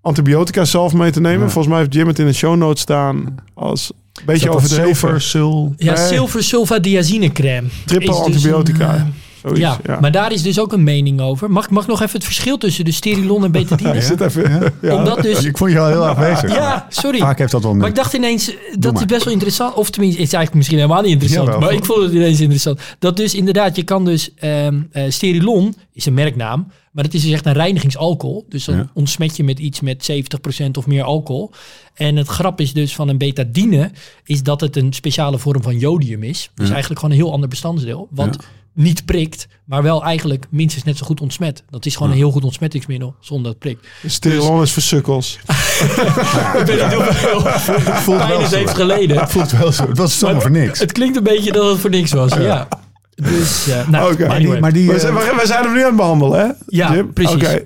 antibiotica zelf mee te nemen.
Ja.
Volgens mij heeft Jim het in de show notes staan als een beetje over de
zilver, sul.
Ja,
Nee.
zilver sulfadiazine crème.
triple
Is dus
antibiotica.
een, eh,
Zoiets,
ja, maar daar is dus ook een mening over. Mag, mag nog even het verschil tussen de sterilon en betadine?
Ik zit even. Ja.
Omdat dus...
Ik vond je al heel erg bezig.
Ja, sorry.
Vaak heeft dat wel
Maar
een
ik dacht ineens, eh, dat
maar.
is best wel interessant. Of tenminste, het is eigenlijk misschien helemaal niet interessant.
Jawel.
maar ik vond het ineens interessant. Dat dus inderdaad, je kan dus... ehm, eh, Sterilon is een merknaam. Maar het is dus echt een reinigingsalcohol. Dus dan
Ja.
ontsmet je met iets met 70% of meer alcohol. En het grap is dus van een betadine... is dat het een speciale vorm van jodium is. Dus eigenlijk gewoon een heel ander bestandsdeel. Wat niet prikt, maar wel eigenlijk minstens net zo goed ontsmet. Dat is gewoon een heel goed ontsmettingsmiddel zonder dat het prikt.
Dus Sterilon is voor sukkels.
Ik weet niet hoeveel pijn het heeft geleden.
voelt wel zo. Het was
Maar
zomaar voor niks.
Het klinkt een beetje dat het voor niks was. Ja. Dus, eh, nou,
Oké.
maar anyway.
Maar die,
We zijn,
eh,
we zijn hem nu aan het behandelen, hè?
Ja,
Jim?
precies.
Oké.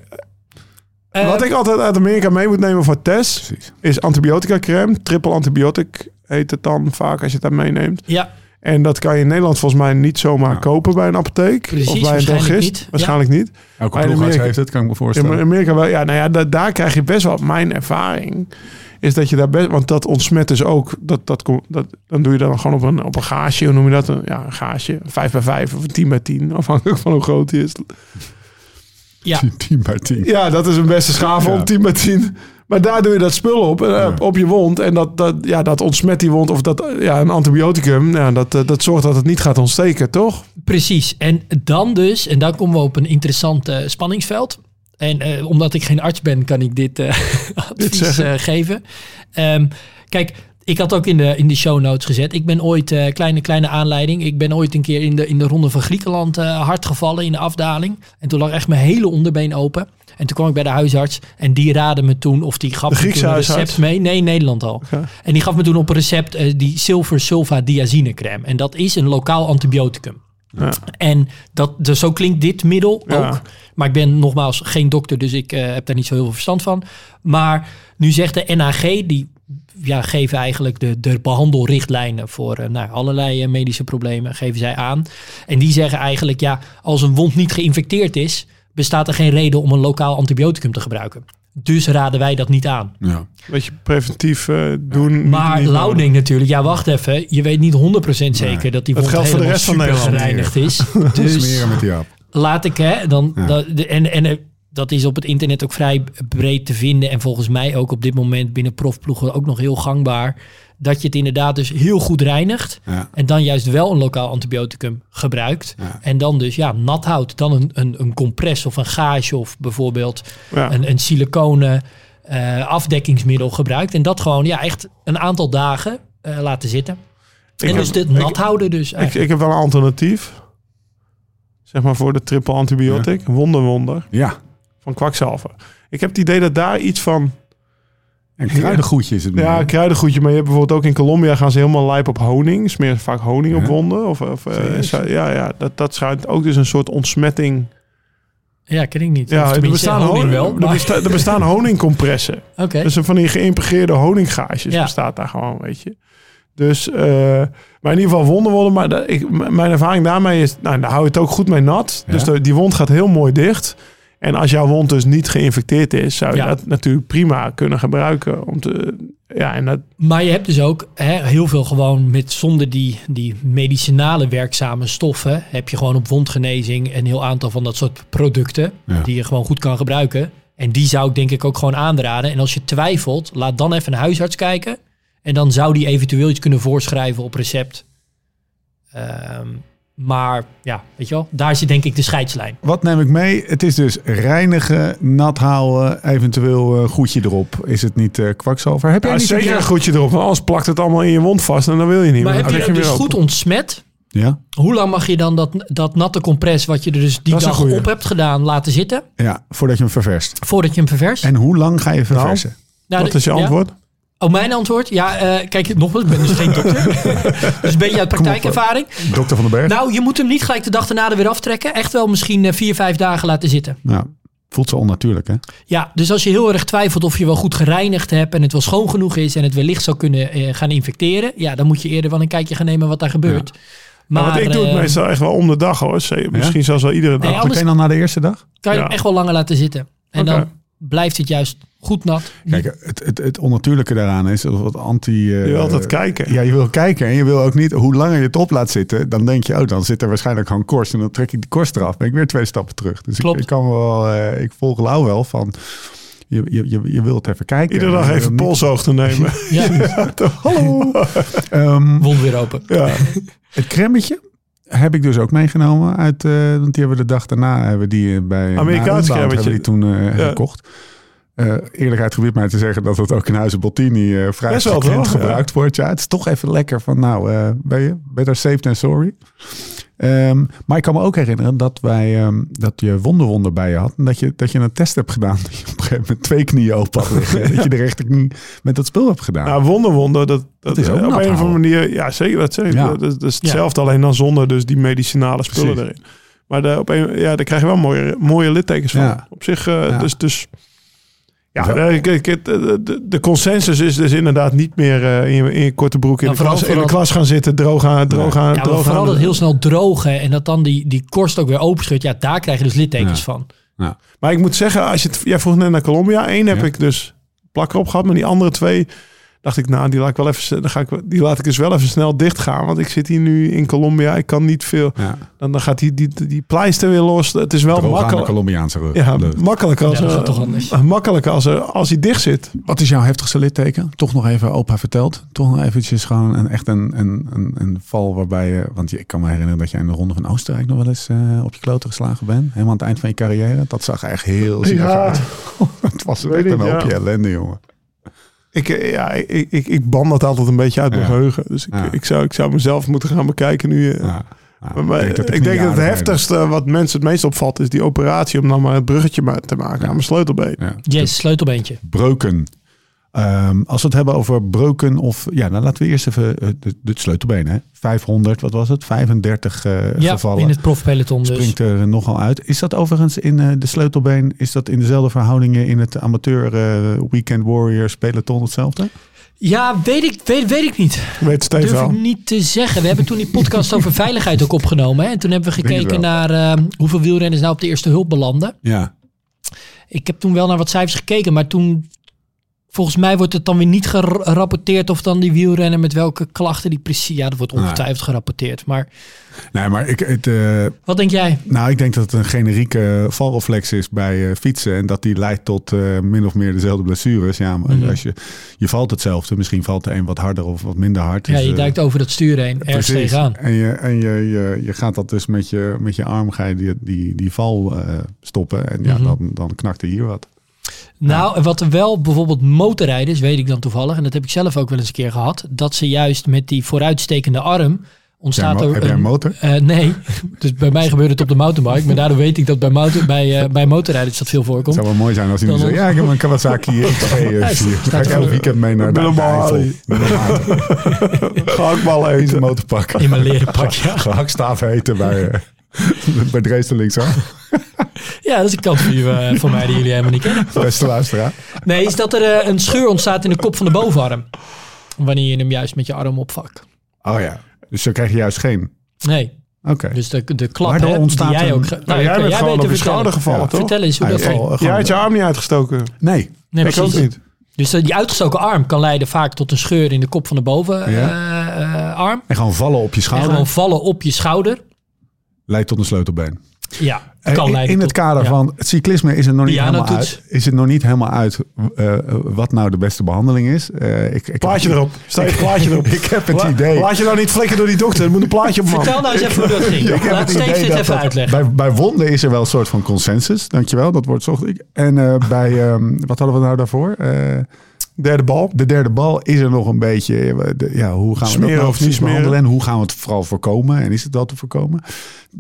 Eh,
Wat ik altijd uit Amerika mee moet nemen voor test
Precies.
is antibiotica crème. Triple antibiotic heet het dan vaak als je het daar meeneemt.
Ja,
En dat kan je in Nederland volgens mij niet zomaar kopen bij een apotheek.
Precies,
of bij een
waarschijnlijk
drogist.
niet. Ja.
Waarschijnlijk
Elke
niet. Maar in
ploegarts
Amerika-
heeft het, kan ik me
In
voorstellen.
Amerika wel. Ja, nou ja, da- daar krijg je best wel. Mijn ervaring is dat je daar best. Want dat ontsmet dus ook. Dat, dat, kom- dat, dan doe je dat dan gewoon op een, op een gaasje. Hoe noem je dat? Een, ja, een gaasje. Een 5 bij 5 of een 10 bij 10. Afhankelijk van hoe groot die is.
ja.
10 bij 10.
Ja, dat is een beste schaaf
Ja.
om 10 bij 10. Maar daar doe je dat spul op, eh, op je wond. En dat, dat, ja, dat ontsmet die wond. Of dat, eh, ja, een antibioticum. Ja, dat, eh, dat zorgt dat het niet gaat ontsteken, toch?
precies. En dan dus, en dan komen we op een interessant eh, spanningsveld. En eh, omdat ik geen arts ben, kan ik dit eh, advies
zeggen.
eh, geven. Ehm, kijk, ik had ook in de, in de show notes gezet. Ik ben ooit, eh, kleine, kleine aanleiding. Ik ben ooit een keer in de, in de Ronde van Griekenland eh, hard gevallen in de afdaling. En toen lag echt mijn hele onderbeen open. En toen kwam ik bij de huisarts. En die raadde me toen, of die gaf
De
me toen
Griekse
een
huisarts?
recept mee. Nee, Nederland al. En die gaf me toen op een recept eh, die zilver sulfadiazine crème. En dat is een lokaal antibioticum. En dat, dus zo klinkt dit middel
Ja.
ook. Maar ik ben nogmaals geen dokter, dus ik eh, heb daar niet zo heel veel verstand van. Maar nu zegt de NHG, die ja, geven eigenlijk de, de behandelrichtlijnen voor eh, nou, allerlei eh, medische problemen, geven zij aan. En die zeggen eigenlijk, ja, als een wond niet geïnfecteerd is, bestaat er geen reden om een lokaal antibioticum te gebruiken. Dus raden wij dat niet aan.
Ja.
Beetje preventief eh, doen. niet-
Maar
niet-
Louding natuurlijk, ja wacht even, je weet niet 100% zeker dat die
Dat
wond
geldt voor de
helemaal
rest van
super
Nederland.
gereinigd is. Dus
Smeren met die aap.
laat ik hè, dan dat- de, en, en eh, dat is op het internet ook vrij breed te vinden en volgens mij ook op dit moment binnen profploegen ook nog heel gangbaar dat je het inderdaad dus heel goed reinigt
Ja.
en dan juist wel een lokaal antibioticum gebruikt en dan dus ja nat houdt dan een, een, een compress of een gaasje of bijvoorbeeld
Ja.
een, een siliconen eh, afdekkingsmiddel gebruikt en dat gewoon ja echt een aantal dagen eh, laten zitten
Ik
en
heb-
dus dit
ik-
nat houden dus
Ik,
eigenlijk.
ik heb wel een alternatief. Zeg maar voor de triple antibiotic. Wonder wonder.
ja.
Van kwakzalver. Ik heb het idee dat daar iets van...
En kruidengoedje is het.
Ja,
maar.
kruidengoedje. Maar je hebt bijvoorbeeld ook in Colombia gaan ze helemaal lijp op honing. Smeren ze vaak honing op
Ja.
wonden. Of, of, eh, zo- ja, ja dat, dat schijnt ook dus een soort ontsmetting.
ja ken ik niet Of
Ja, er
tenminste,
bestaan,
honing
honing,
wel
er
maar-
besta- er bestaan honingcompressen.
oké
Dus een van die geïmpregneerde honinggaasjes
Ja.
bestaat daar gewoon, weet je. Dus, eh, maar in ieder geval wonderwonden. Maar dat, ik, m- mijn ervaring daarmee is, nou, daar hou je het ook goed mee nat.
Ja.
Dus de- die wond gaat heel mooi dicht. En als jouw wond dus niet geïnfecteerd is, zou je
Ja.
dat natuurlijk prima kunnen gebruiken. Om te, ja, en dat,
Maar je hebt dus ook hè, heel veel gewoon met zonder die, die medicinale werkzame stoffen. Heb je gewoon op wondgenezing een heel aantal van dat soort producten.
Ja.
Die je gewoon goed kan gebruiken. En die zou ik denk ik ook gewoon aanraden. En als je twijfelt, laat dan even een huisarts kijken. En dan zou die eventueel iets kunnen voorschrijven op recept. Ehm, maar ja, weet je wel, daar zit denk ik de scheidslijn.
Wat neem ik mee? Het is dus reinigen, nat houden, eventueel eh, goedje erop. Is het niet eh, kwakzalver? Heb jij
ja,
niet een
zeker
keer-
een goedje erop. Want anders plakt het allemaal in je wond vast en dan wil je niet
Maar
meer.
heb je
Dan leg
dat dus
weer
goed
open.
ontsmet?
Ja,
Hoe lang mag je dan dat, dat natte compress, wat je er dus die
Dat is een
dag
goeie.
op hebt gedaan, laten zitten?
ja, voordat je hem ververst.
Voordat je hem ververst?
En hoe lang ga je verversen?
Nou,
Wat
de-
is je
ja.
antwoord?
Oh, mijn antwoord? Ja, eh, kijk, nogmaals, ik ben dus geen dokter. dus een beetje uit praktijkervaring.
Dokter van den Berg?
Nou, je moet hem niet gelijk de dag erna er weer aftrekken. Echt wel misschien eh, vier, vijf dagen laten zitten.
Nou, voelt zo onnatuurlijk, hè?
Ja, dus als je heel erg twijfelt of je wel goed gereinigd hebt... en het wel schoon genoeg is en het wellicht zou kunnen eh, gaan infecteren... ja, dan moet je eerder wel een kijkje gaan nemen wat daar gebeurt.
Maar, wat ik doe het
eh,
meestal echt wel om de dag hoor. Ze- Misschien zelfs wel iedere dag.
Nee, anders
Meteen al na de eerste dag?
kan je
ja.
hem echt wel langer laten zitten. En
Oké.
dan blijft het juist goed nat.
Kijk, het, het, het onnatuurlijke daaraan is dat wat anti... eh,
je wil altijd kijken.
Ja, je wil kijken en je wil ook niet... Hoe langer je het op laat zitten, dan denk je... Oh, dan zit er waarschijnlijk gewoon korst en dan trek ik die korst eraf. ben ik weer twee stappen terug. Dus ik,
Klopt.
ik kan wel... eh, ik volg Lau wel van... Je, je, je, je wilt even kijken.
Iedere dag
Eh,
even
niet-
polsoog te nemen.
Ja,
Hallo! Ehm,
wond weer open.
ja. Het cremmetje heb ik dus ook meegenomen. Uit, eh, want die hebben we de dag daarna hebben we die eh, bij eh,
Amerikaans
na Unbound
cremmetje.
hebben we die toen eh,
Ja.
gekocht. Eh, eerlijkheid gebiedt mij te zeggen dat het ook in huizen Bottini eh, vrij
Best wel,
frequent
toch?
gebruikt wordt. Ja, het is toch even lekker van nou, eh ben je better safe than sorry. Ehm, maar ik kan me ook herinneren dat wij ehm, dat je wonderwonder bij je had. En dat je, dat je een test hebt gedaan. Dat je op een gegeven moment twee knieën open had liggen. en Dat je de rechterknie met dat spul hebt gedaan.
Nou, wonder, wonder. Dat, dat,
is ook
op
nat
een of andere
houden.
manier. Ja, zeker. Dat, zeker.
Ja.
Dat, dat is hetzelfde, alleen dan zonder dus die medicinale spullen
Precies.
erin. Maar daar, op een, ja, daar krijg je wel mooie, mooie littekens van.
Ja.
Op zich, eh,
Ja.
dus... dus ja,
Wel-
eh, kijk, het, eh, de, de, de consensus is dus inderdaad niet meer eh, in, je- in je korte broek in,
Nou,
de
vooral-
klas, in de
vooral-
klas gaan zitten, droog aan, droog aan,
Ja, maar
droog
vooral
aan.
dat heel snel drogen en dat dan die, die korst ook weer openscheurt. Ja, daar krijg je dus
Ja.
littekens van.
Maar ik moet zeggen, als je het, jij vroeg net naar Colombia. Eén heb
Ja.
ik dus plakker op gehad, maar die andere twee dacht ik, nou, die laat ik wel even, dan ga ik, die laat ik eens wel even snel dicht gaan, want ik zit hier nu in Colombia. Ik kan niet veel.
ja.
Dan, dan gaat die, die, die pleister weer los. Het is wel
Droog aan de
makkelijk.
Colombiaanse rug.
Ja,
Leuk.
makkelijk als,
Ja, dat
eh,
gaat toch anders.
makkelijk als, eh, als hij dicht zit.
Wat is jouw heftigste litteken? Toch nog even opa verteld. Toch nog eventjes gewoon een, echt een, een, een, een val waarbij je... Want je- ik kan me herinneren dat jij in de Ronde van Oostenrijk nog wel eens eh, op je kloten geslagen bent. Helemaal aan het eind van je carrière. Dat zag er echt heel zielig uit. Het was echt
weet
een
ik, ja.
hoopje ellende, jongen.
Ik, eh, ja, ik, ik, ik ban dat altijd een beetje uit mijn
Ja.
geheugen. Dus ik,
Ja.
ik, zou, ik zou mezelf moeten gaan bekijken nu. eh,
Ja. Ja,
Maar, maar ik denk dat,
knieën
het
aardig
heftigste wat mensen het meest opvalt is die operatie om dan maar het bruggetje ma- te maken aan mijn sleutelbeen.
deden. Ja.
Yes, sleutelbeentje.
Breuken. Ehm, als we het hebben over breuken of... Ja, nou laten we eerst even eh, de, de sleutelbeen, hè. 500, wat was het? 35 eh,
Ja,
gevallen.
in het profpeloton dus.
springt er eh, nogal uit. Is dat overigens in eh, de sleutelbeen, is dat in dezelfde verhoudingen in het amateur eh, Weekend Warriors peloton hetzelfde?
Ja, weet ik, weet, weet ik niet.
Ik weet Steve
Durf ik
wel.
niet te zeggen. We hebben toen die podcast over veiligheid ook opgenomen. Hè? En toen hebben we
Denk het
gekeken
wel.
naar eh, hoeveel wielrenners nou op de eerste hulp belanden.
Ja.
Ik heb toen wel naar wat cijfers gekeken, maar toen... Volgens mij wordt het dan weer niet gerapporteerd of dan die wielrenner met welke klachten die precies... Ja, dat wordt ongetwijfeld gerapporteerd. Maar
Nee, maar ik, het, eh,
wat denk jij?
nou, ik denk dat het een generieke eh, valreflex is bij eh, fietsen. En dat die leidt tot eh, min of meer dezelfde blessures. Ja, maar
Mhm.
als je, je valt hetzelfde. Misschien valt de een wat harder of wat minder hard.
Ja,
Dus,
je
eh,
duikt over dat stuur heen, ergens
Precies.
tegenaan.
En, je, en je, je, je gaat dat dus met je, met je arm ga je die, die, die val eh, stoppen. En ja,
Mhm.
dan, dan knakt er hier wat.
Nou, en wat er wel bijvoorbeeld motorrijders, weet ik dan toevallig, en dat heb ik zelf ook wel eens een keer gehad, dat ze juist met die vooruitstekende arm
Heb
ontstaat
jij mo-
er
heb jij een motor?
eh, nee, dus bij mij gebeurt het op de mountainbike, maar daardoor weet ik dat bij, motor, bij, eh, bij motorrijders dat veel
Het
voorkomt.
zou wel mooi zijn als hij nu
Dan
zegt,
nog-
ja, ik heb een Kawasaki eh, XT4. Ga ik
er
elk
voor-
weekend mee naar de
Normaal.
Eifel. Normaal.
Ga ik wel
Eens een
eten.
motorpak.
In mijn leren pak, ja.
Gehaktstaaf eten bij, eh, bij Dresden linksaf.
Ja, dat is een kant van, u, eh, van mij die jullie helemaal niet kennen.
Beste luisteraar.
Nee, is dat er eh, een scheur ontstaat in de kop van de bovenarm. Wanneer je hem juist met je arm opvakt.
Oh ja. Dus dan krijg je juist geen.
Nee,
Oké.
Dus de, de klap
Waardoor
hè,
ontstaat
die jij
een-
ook... ge-
Nou,
ja,
jij
kan
bent gewoon
beter
op je
vertellen.
schouder gevallen,
Ja.
toch?
Vertel eens hoe
Hij
dat
heeft
ging.
al, eh,
Jij
gewoon-
had je arm niet uitgestoken.
Nee.
Nee,
ik ook
precies.
niet.
Dus dat- die uitgestoken arm kan leiden vaak tot een scheur in de kop van de bovenarm. arm
En gewoon vallen op je
en
schouder
gewoon vallen op je schouder.
leidt tot een sleutelbeen.
Ja,
Eh,
kan
in-
leiden
in het
tot-
kader
ja.
van het cyclisme is het nog niet, helemaal
Pianotoets.
uit, is het nog niet helemaal uit eh, eh, wat nou de beste behandeling is. Eh, ik, ik,
Plaatje erop. Stel je plaatje erop.
Ik heb het
La-
idee.
Laat je nou niet flikken door die dokter. Er moet een plaatje op man.
Vertel nou eens even hoe dat ging.
Ik heb
Laat
het
Steef
idee
dit
dat
even
dat-
uitleggen.
Bij, bij wonden is er wel een soort van consensus. Dankjewel, dat woord zocht ik. En eh, bij, ehm, wat hadden we nou daarvoor? Eh,
Derde bal.
de derde bal is er nog een beetje. eh, de- ja, hoe gaan we
Smeren
dat nou
of niet
precies
smeren?
behandelen? En hoe gaan we het vooral voorkomen? En is het wel te voorkomen?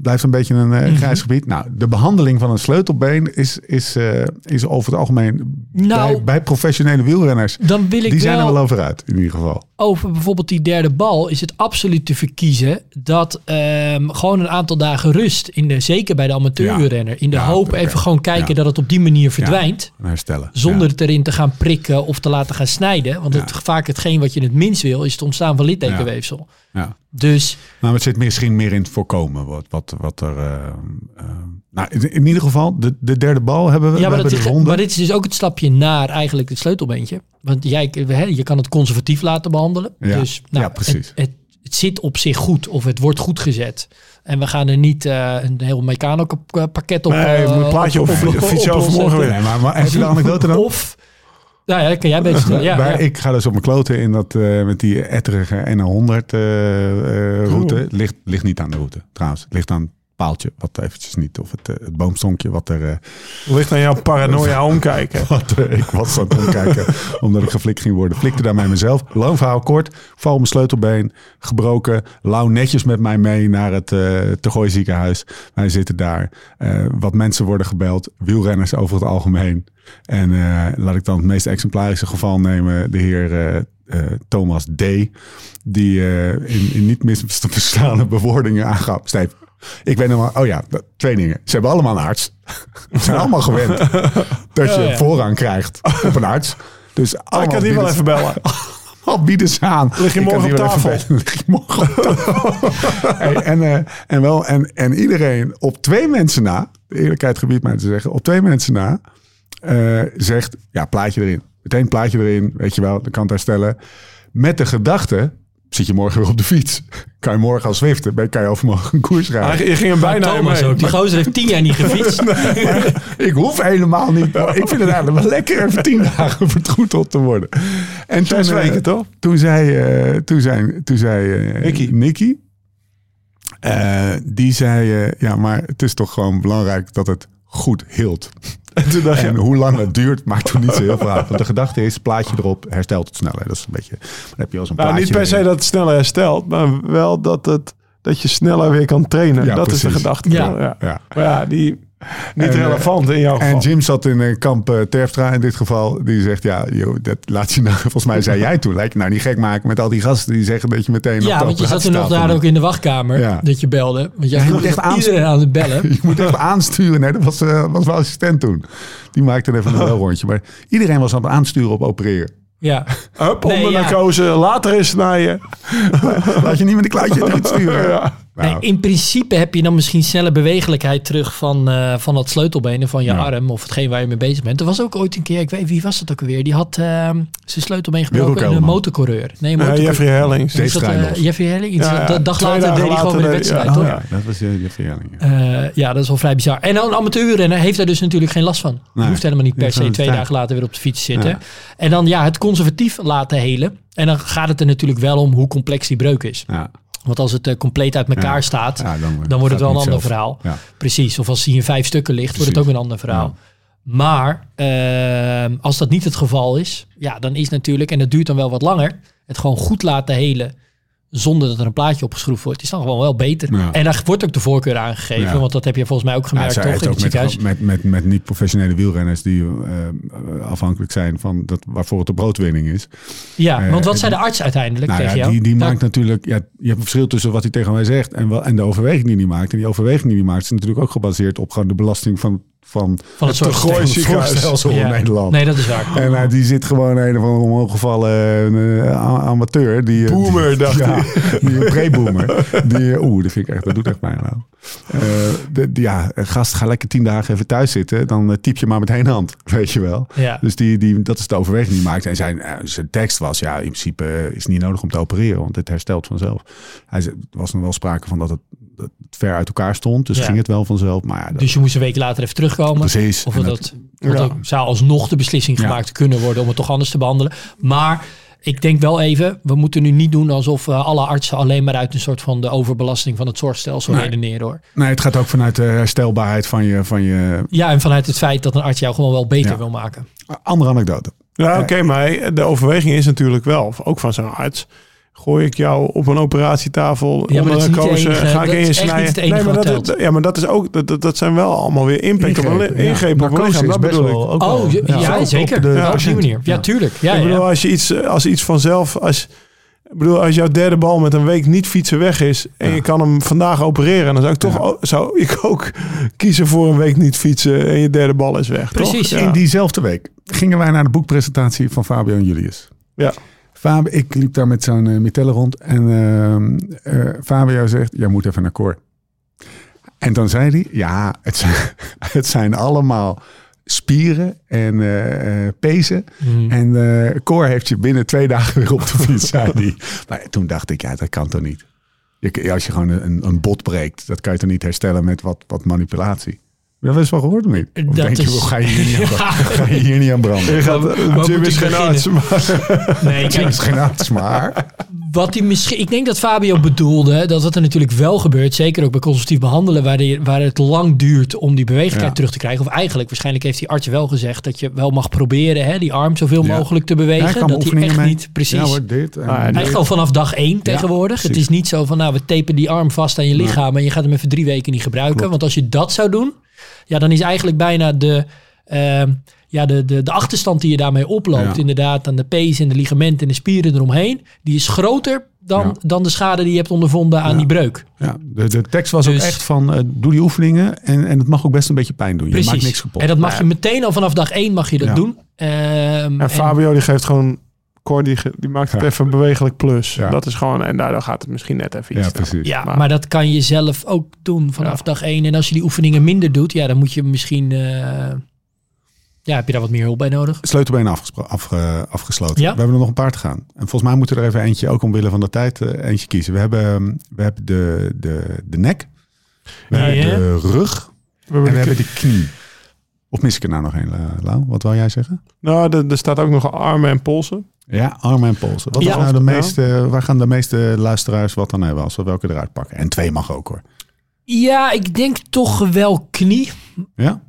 Blijft een beetje een eh,
Mhm.
grijs gebied. Nou, de behandeling van een sleutelbeen is, is, eh, is over het algemeen
Nou.
bij, bij professionele wielrenners.
Dan wil ik
Die zijn
wel...
er wel over uit, in ieder geval.
over bijvoorbeeld die derde bal is het absoluut te verkiezen dat ehm, gewoon een aantal dagen rust, in de, zeker bij de amateurrenner, in de
Ja,
hoop
oké.
even gewoon kijken
Ja.
dat het op die manier verdwijnt.
En herstellen.
Zonder
Ja.
het erin te gaan prikken of te laten gaan snijden. Want het,
Ja.
vaak hetgeen wat je het minst wil, is het ontstaan van littekenweefsel.
Ja.
Dus
Nou, het zit misschien meer in het voorkomen. Wat, wat, wat er. eh, eh, nou, in, in ieder geval, de, de derde bal hebben we.
ja,
we
maar, dat
hebben
is,
de ronde.
maar dit is dus ook het stapje naar eigenlijk het sleutelbeentje. Want jij, eh, hè, je kan het conservatief laten behandelen.
Ja,
Dus,
ja, precies.
Het, het, het zit op zich goed of het wordt goed gezet. En we gaan er niet eh, een heel mechano-pakket op...
Nee,
eh,
een plaatje op,
op- op- op-
fiets je
op-
overmorgen
opzetten.
weer.
Nee, maar, maar heb je de anekdote dan?
Of... Nou ja, dat kan jij beter vertellen. Ja,
Waar
ja.
Ik ga dus op mijn kloten in dat, eh, met die etterige N100 eh, eh, route. Het Ligt, ligt niet aan de route, trouwens. Het ligt aan het paaltje, wat eventjes niet. Of het, eh, het boomstonkje, wat er... eh,
Ligt naar jouw paranoia omkijken.
wat, eh, ik was aan het omkijken, omdat ik geflikt ging worden. Flikte daarmee mezelf. Lang verhaal kort. Val op mijn sleutelbeen. Gebroken. Lau netjes met mij mee naar het eh Tegooi ziekenhuis. Wij zitten daar. Eh, wat mensen worden gebeld. Wielrenners over het algemeen. En eh, laat ik dan het meest exemplarische geval nemen. De heer eh, eh, Thomas D. Die eh, in, in niet mis te verstaande bewoordingen aangaf. Steef, ik ben helemaal... Oh ja, twee dingen. Ze hebben allemaal een arts. Ze zijn allemaal gewend dat je
Ja, ja.
voorrang krijgt op een arts. Dus
Ah, ik
allemaal
kan die wel
bieden-
even bellen.
al bieden ze aan.
Lig je
Ik kan
morgen
die
op
wel even
tafel?
bij- Lig je morgen op tafel. Hey, en, eh, en, wel, en, en iedereen op twee mensen na, de eerlijkheid gebied mij te zeggen, op twee mensen na, eh, zegt, ja, plaatje erin. Meteen plaatje erin, weet je wel, de kant herstellen. Met de gedachte, zit je morgen weer op de fiets? Kan je morgen al zwiften? Ben- Kan je overmorgen een koers rijden?
Hij- Je ging hem
Maar
bijna in
Thomas
mee.
ook. Die gozer heeft tien jaar niet gefietst.
Ik hoef helemaal niet. maar ik vind het eigenlijk wel lekker even tien dagen vertroeteld te worden. En toen,
Zes
eh,
weken, toch?
Toen zei, eh toen zei, toen zei eh,
Nicky.
Nicky, eh, die zei, eh, ja, maar het is toch gewoon belangrijk dat het goed hield.
En toen dacht
En
je,
hoe lang het duurt, maakt toen niet zo heel veel uit. Want de gedachte is, plaatje erop, herstelt het sneller. Dat is een beetje, dan heb je al zo'n
nou,
plaatje.
niet per se
weer.
dat het sneller herstelt, maar wel dat, het, dat je sneller weer kan trainen.
Ja,
dat is
precies.
de gedachte.
Ja.
toch?
Ja.
Maar ja, die niet
En, eh,
relevant in jouw
En
geval.
Jim zat in eh, kamp eh, Terpstra in dit geval. Die zegt, ja, joh, dat laat je nou... Volgens mij zei jij toen, lijkt nou niet gek maken met al die gasten die zeggen dat je meteen op
Ja,
de
want je zat
operatietafel
toen nog daar
moet.
ook in de wachtkamer.
Ja.
Dat je belde. Want jij
Ja, je
moet
moet echt
echt iedereen aan het bellen.
Je moet echt aansturen. Nee, dat was, eh, was mijn assistent toen. Die maakte even een belrondje. Maar iedereen was aan het aansturen op opereren.
Ja.
Hup,
Nee,
onder
ja.
narcose, later is snijden.
Laat je niet met een kluitje eruit sturen.
Ja.
Nou,
Nee, in principe heb je dan misschien snelle bewegelijkheid terug van, eh, van dat sleutelbenen van je
Ja.
arm of hetgeen waar je mee bezig bent. Er was ook ooit een keer, ik weet wie was dat ook alweer, die had ehm, zijn sleutelbeen
Wilco
gebroken. Een
Kelderman.
motorcoureur. Nee, een
Eh,
motorcoureur.
Jeffrey Hellings.
Dave
Is dat, eh,
Strijnhoff.
Jeffrey Helling? Iets-
Ja, ja.
dat- Dag
Twee
later
dagen
deed hij gewoon weer
later
de
deed- ja.
wedstrijd,
Oh,
toch?
ja, dat was je Jeffrey Helling, ja.
Eh, ja, dat is wel vrij bizar. En een amateurrenner heeft daar dus natuurlijk geen last van. Die
Nee.
hoeft helemaal niet
Die
per
is aan
se
het
twee
tijd.
dagen later weer op de fiets te zitten.
Ja.
En dan ja, het conservatief laten helen. En dan gaat het er natuurlijk wel om hoe complex die breuk is.
Ja,
Want als het eh, compleet uit elkaar
Ja.
staat,
ja, dan,
dan wordt het wel een
gaat
ander
niet zelf.
verhaal.
Ja.
Precies, of als hij in vijf stukken ligt, wordt het
Precies.
ook een ander verhaal. Maar ehm, als dat niet het geval is, ja, dan is natuurlijk, en dat duurt dan wel wat langer, het gewoon goed laten helen zonder dat er een plaatje opgeschroefd wordt, is dan gewoon wel beter.
Ja.
En daar wordt ook de voorkeur aangegeven,
Ja.
want dat heb je volgens mij ook
Ja,
gemerkt,
zij
toch,
heeft
in het
ook
ziekenhuis.
met, met, met, met niet-professionele wielrenners die eh, afhankelijk zijn van dat, waarvoor het de broodwinning is.
ja,
eh,
want wat
eh,
zei de arts uiteindelijk
Nou
tegen
ja,
jou?
die, die
Daar-
maakt natuurlijk. Ja, je hebt een verschil tussen wat hij tegen mij zegt en, wel, en de overweging die hij maakt. En die overweging die hij maakt is natuurlijk ook gebaseerd op gewoon de belasting van van,
Van het soort
gooi
systeem.
ziekenhuisstelsel
Ja.
in Nederland.
Nee, dat is waar.
En eh, die zit gewoon een of andere omhooggevallen eh, a- amateur. Die, eh,
Boomer,
die-
dacht
ja, die een pre-boomer. Die, eh, Oeh, dat vind ik echt, dat doet echt mij nou. Eh, de- die- ja, eh, gast, ga lekker tien dagen even thuis zitten. Dan eh, typ je maar met één hand, weet je wel.
Ja.
Dus die, die, dat is de overweging die hij maakt. En zijn, eh, zijn tekst was, ja, in principe eh, is het niet nodig om te opereren, want het herstelt vanzelf. Hij zei, er was nog wel sprake van dat het, dat het ver uit elkaar stond, dus
Ja.
ging het wel vanzelf. Maar ja, dat-
Dus je moest een week later even terugkomen.
Precies.
Of
En
dat,
dat-
dat, want er zou alsnog de beslissing
Ja.
gemaakt kunnen worden om het toch anders te behandelen. Maar ik denk wel even, we moeten nu niet doen alsof eh, alle artsen alleen maar uit een soort van de overbelasting van het zorgstelsel
Nee.
redeneren hoor.
nee, het gaat ook vanuit de herstelbaarheid van je, van je
Ja, en vanuit het feit dat een arts jou gewoon wel beter
Ja.
wil maken.
andere anekdote.
Eh,
Ja, oké, maar de overweging is natuurlijk wel, ook van zo'n arts. Gooi ik jou op een operatietafel
Ja, maar
onder
dat is niet de
narcose,
enige-
ga ik
dat
in
is
je
echt
snijden.
niet het enige
nee, maar
wat
dat,
telt.
ja, maar dat, is ook, dat, dat, dat zijn wel allemaal weer impact op een li- ingrepen op een
Narcose
lichaam.
is
Dat
best
bedoel ik.
wel ook wel-
Oh, ja, ja,
Zo,
zeker.
op de
Ja, op die
patiënt.
manier. Ja, tuurlijk. Ja,
ik bedoel,
ja.
als je iets, als iets vanzelf, als, ik bedoel, als jouw derde bal met een week niet fietsen weg is en
Ja.
je kan hem vandaag opereren, dan zou ik toch
Ja.
o- zou ik ook kiezen voor een week niet fietsen en je derde bal is weg. toch?
Precies.
Ja.
In diezelfde week gingen wij naar de boekpresentatie van Fabio en Julius.
Ja.
Fabio, ik liep daar met zo'n eh, Mitelle rond en ehm, eh, Fabio zegt, jij moet even naar koor. En dan zei hij, ja, het zijn, het zijn allemaal spieren en eh, eh, pezen.
Mhm.
En eh koor heeft je binnen twee dagen weer op de fiets, zei hij. Maar toen dacht ik, ja, dat kan toch niet. Je, als je gewoon een, een bot breekt, dat kan je toch niet herstellen met wat, wat manipulatie. Dat is wel gehoord, of niet? Of
Dat
denk je,
is-
"Wel, ga je hier niet aan-
Ja.
ga je hier niet aan branden?
Waar- waar moet
Jim
ik
is geen
beginnen?
arts, maar
Nee,
Dat
kijk,
is geen arts, maar...
Wat hij misschien, ik denk dat Fabio bedoelde dat wat er natuurlijk wel gebeurt, zeker ook bij consultief behandelen, waar, je- waar het lang duurt om die bewegelijkheid
Ja.
terug te krijgen. Of eigenlijk, waarschijnlijk heeft die arts wel gezegd dat je wel mag proberen hè, die arm zoveel
Ja.
mogelijk te bewegen.
Ja, ik kan
dat hij
oefeningen
echt
mee.
niet precies.
Ja hoor, dit. en
Ah,
dit.
Echt al vanaf dag één tegenwoordig. Het
precies.
is niet zo van, nou, we tapen die arm vast aan je lichaam en je gaat hem even drie weken niet gebruiken. Want als je dat zou doen, ja, dan is eigenlijk bijna de, ehm, ja, de, de, de achterstand die je daarmee oploopt,
Ja.
inderdaad, aan de pees en de ligamenten en de spieren eromheen, die is groter dan,
Ja.
dan de schade die je hebt ondervonden aan die breuk.
Ja, de, de tekst was ook
Dus-
echt van, eh, doe die oefeningen en, en het mag ook best een beetje pijn doen. Je
Precies.
maakt niks kapot.
En dat mag je meteen al vanaf dag één mag je dat
Ja.
doen. Ehm,
en Fabio die geeft gewoon Cor die, ge- die maakt het
Ja.
even bewegelijk plus.
Ja.
Dat is gewoon en daardoor gaat het misschien net even iets.
ja,
sneller.
precies.
Ja,
Maar-
maar, dat kan je zelf ook doen vanaf
Ja.
dag één. En als je die oefeningen minder doet, ja, dan moet je misschien. eh, ja, heb je daar wat meer hulp bij nodig?
Sleutelbeen afgespro- afge- afgesloten.
Ja.
We hebben er nog een paar te gaan. En volgens mij moeten we er even eentje, ook omwille van de tijd, eh, eentje kiezen. We hebben, ehm, we hebben de, de, de nek, we
Ja.
hebben de rug
We hebben
en we
de
hebben de knie. Of mis ik er nou nog een, eh, Lau? Wat wil jij zeggen?
Nou, er, er staat ook nog armen en polsen.
Ja, armen en polsen. Wat
Ja.
is nou de
Ja.
meeste, waar gaan de meeste luisteraars wat dan hebben als we welke eruit pakken? En twee mag ook hoor.
Ja, ik denk toch wel knie.
Ja?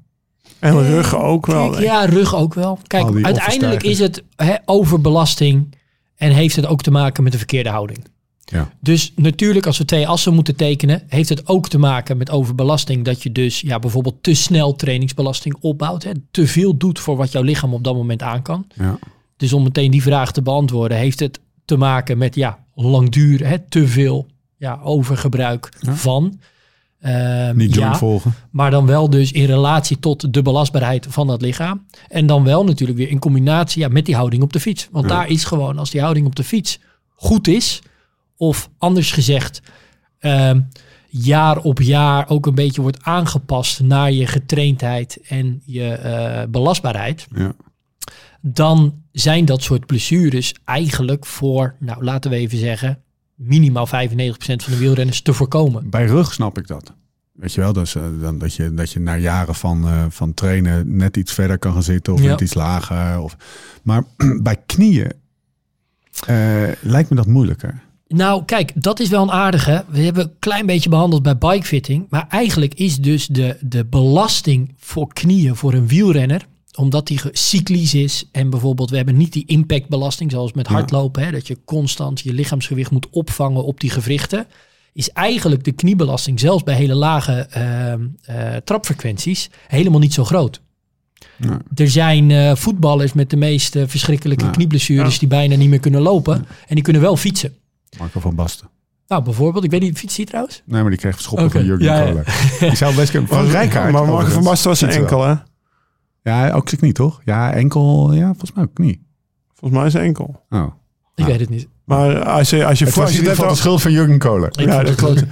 En rug ook wel.
Kijk,
denk ik.
ja, rug ook wel.
Al
Kijk,
die
uiteindelijk is
offerstijgers.
het hè, overbelasting. En heeft het ook te maken met de verkeerde houding.
Ja.
Dus natuurlijk, als we twee assen moeten tekenen, heeft het ook te maken met overbelasting. Dat je dus ja, bijvoorbeeld te snel trainingsbelasting opbouwt. Hè, te veel doet voor wat jouw lichaam op dat moment aan kan.
ja.
Dus om meteen die vraag te beantwoorden, heeft het te maken met ja, langdurig, hè, te veel ja, overgebruik van. Ehm,
Niet joint
ja,
volgen.
maar dan wel dus in relatie tot de belastbaarheid van dat lichaam. En dan wel natuurlijk weer in combinatie ja, met die houding op de fiets. Want daar is gewoon, als die houding op de fiets goed is, of anders gezegd, ehm, jaar op jaar ook een beetje wordt aangepast naar je getraindheid en je eh, belastbaarheid
Ja.
dan zijn dat soort blessures eigenlijk voor, nou laten we even zeggen, minimaal 95% van de wielrenners te voorkomen.
Bij rug snap ik dat. Weet je wel, dus, eh, dan, dat, je, dat je na jaren van, eh, van trainen net iets verder kan gaan zitten of
Ja.
net iets lager. Of, maar bij knieën eh, lijkt me dat moeilijker.
Nou, kijk, dat is wel een aardige. We hebben een klein beetje behandeld bij bikefitting. Maar eigenlijk is dus de, de belasting voor knieën voor een wielrenner omdat die cyclisch is en bijvoorbeeld we hebben niet die impactbelasting zoals met hardlopen, hè, dat je constant je lichaamsgewicht moet opvangen op die gewrichten, is eigenlijk de kniebelasting zelfs bij hele lage ehm, eh, trapfrequenties helemaal niet zo groot. Er zijn eh, voetballers met de meest eh, verschrikkelijke knieblessures die bijna niet meer kunnen lopen en die kunnen wel fietsen.
Marco van Basten.
Nou, bijvoorbeeld, ik weet niet, fiets hij trouwens?
Nee, maar die kreeg schoppen
Oké,
van Jurgen
ja, ja.
Koller. Die zou best kunnen. Van Rijkaard.
Maar Marco
overigens.
van Basten was een
Fietsen wel.
enkel, hè?
Ja, ook zijn knie, toch? Ja, enkel. Ja, volgens mij ook knie.
Volgens mij is hij enkel.
Oh.
Ik
Nou,
Ja.
weet het niet.
Maar als je, als je,
Het
voor-
was
als
in ieder
je dit
geval de
hebt
schuld van Jurgen Koller.
Ik vond het klote.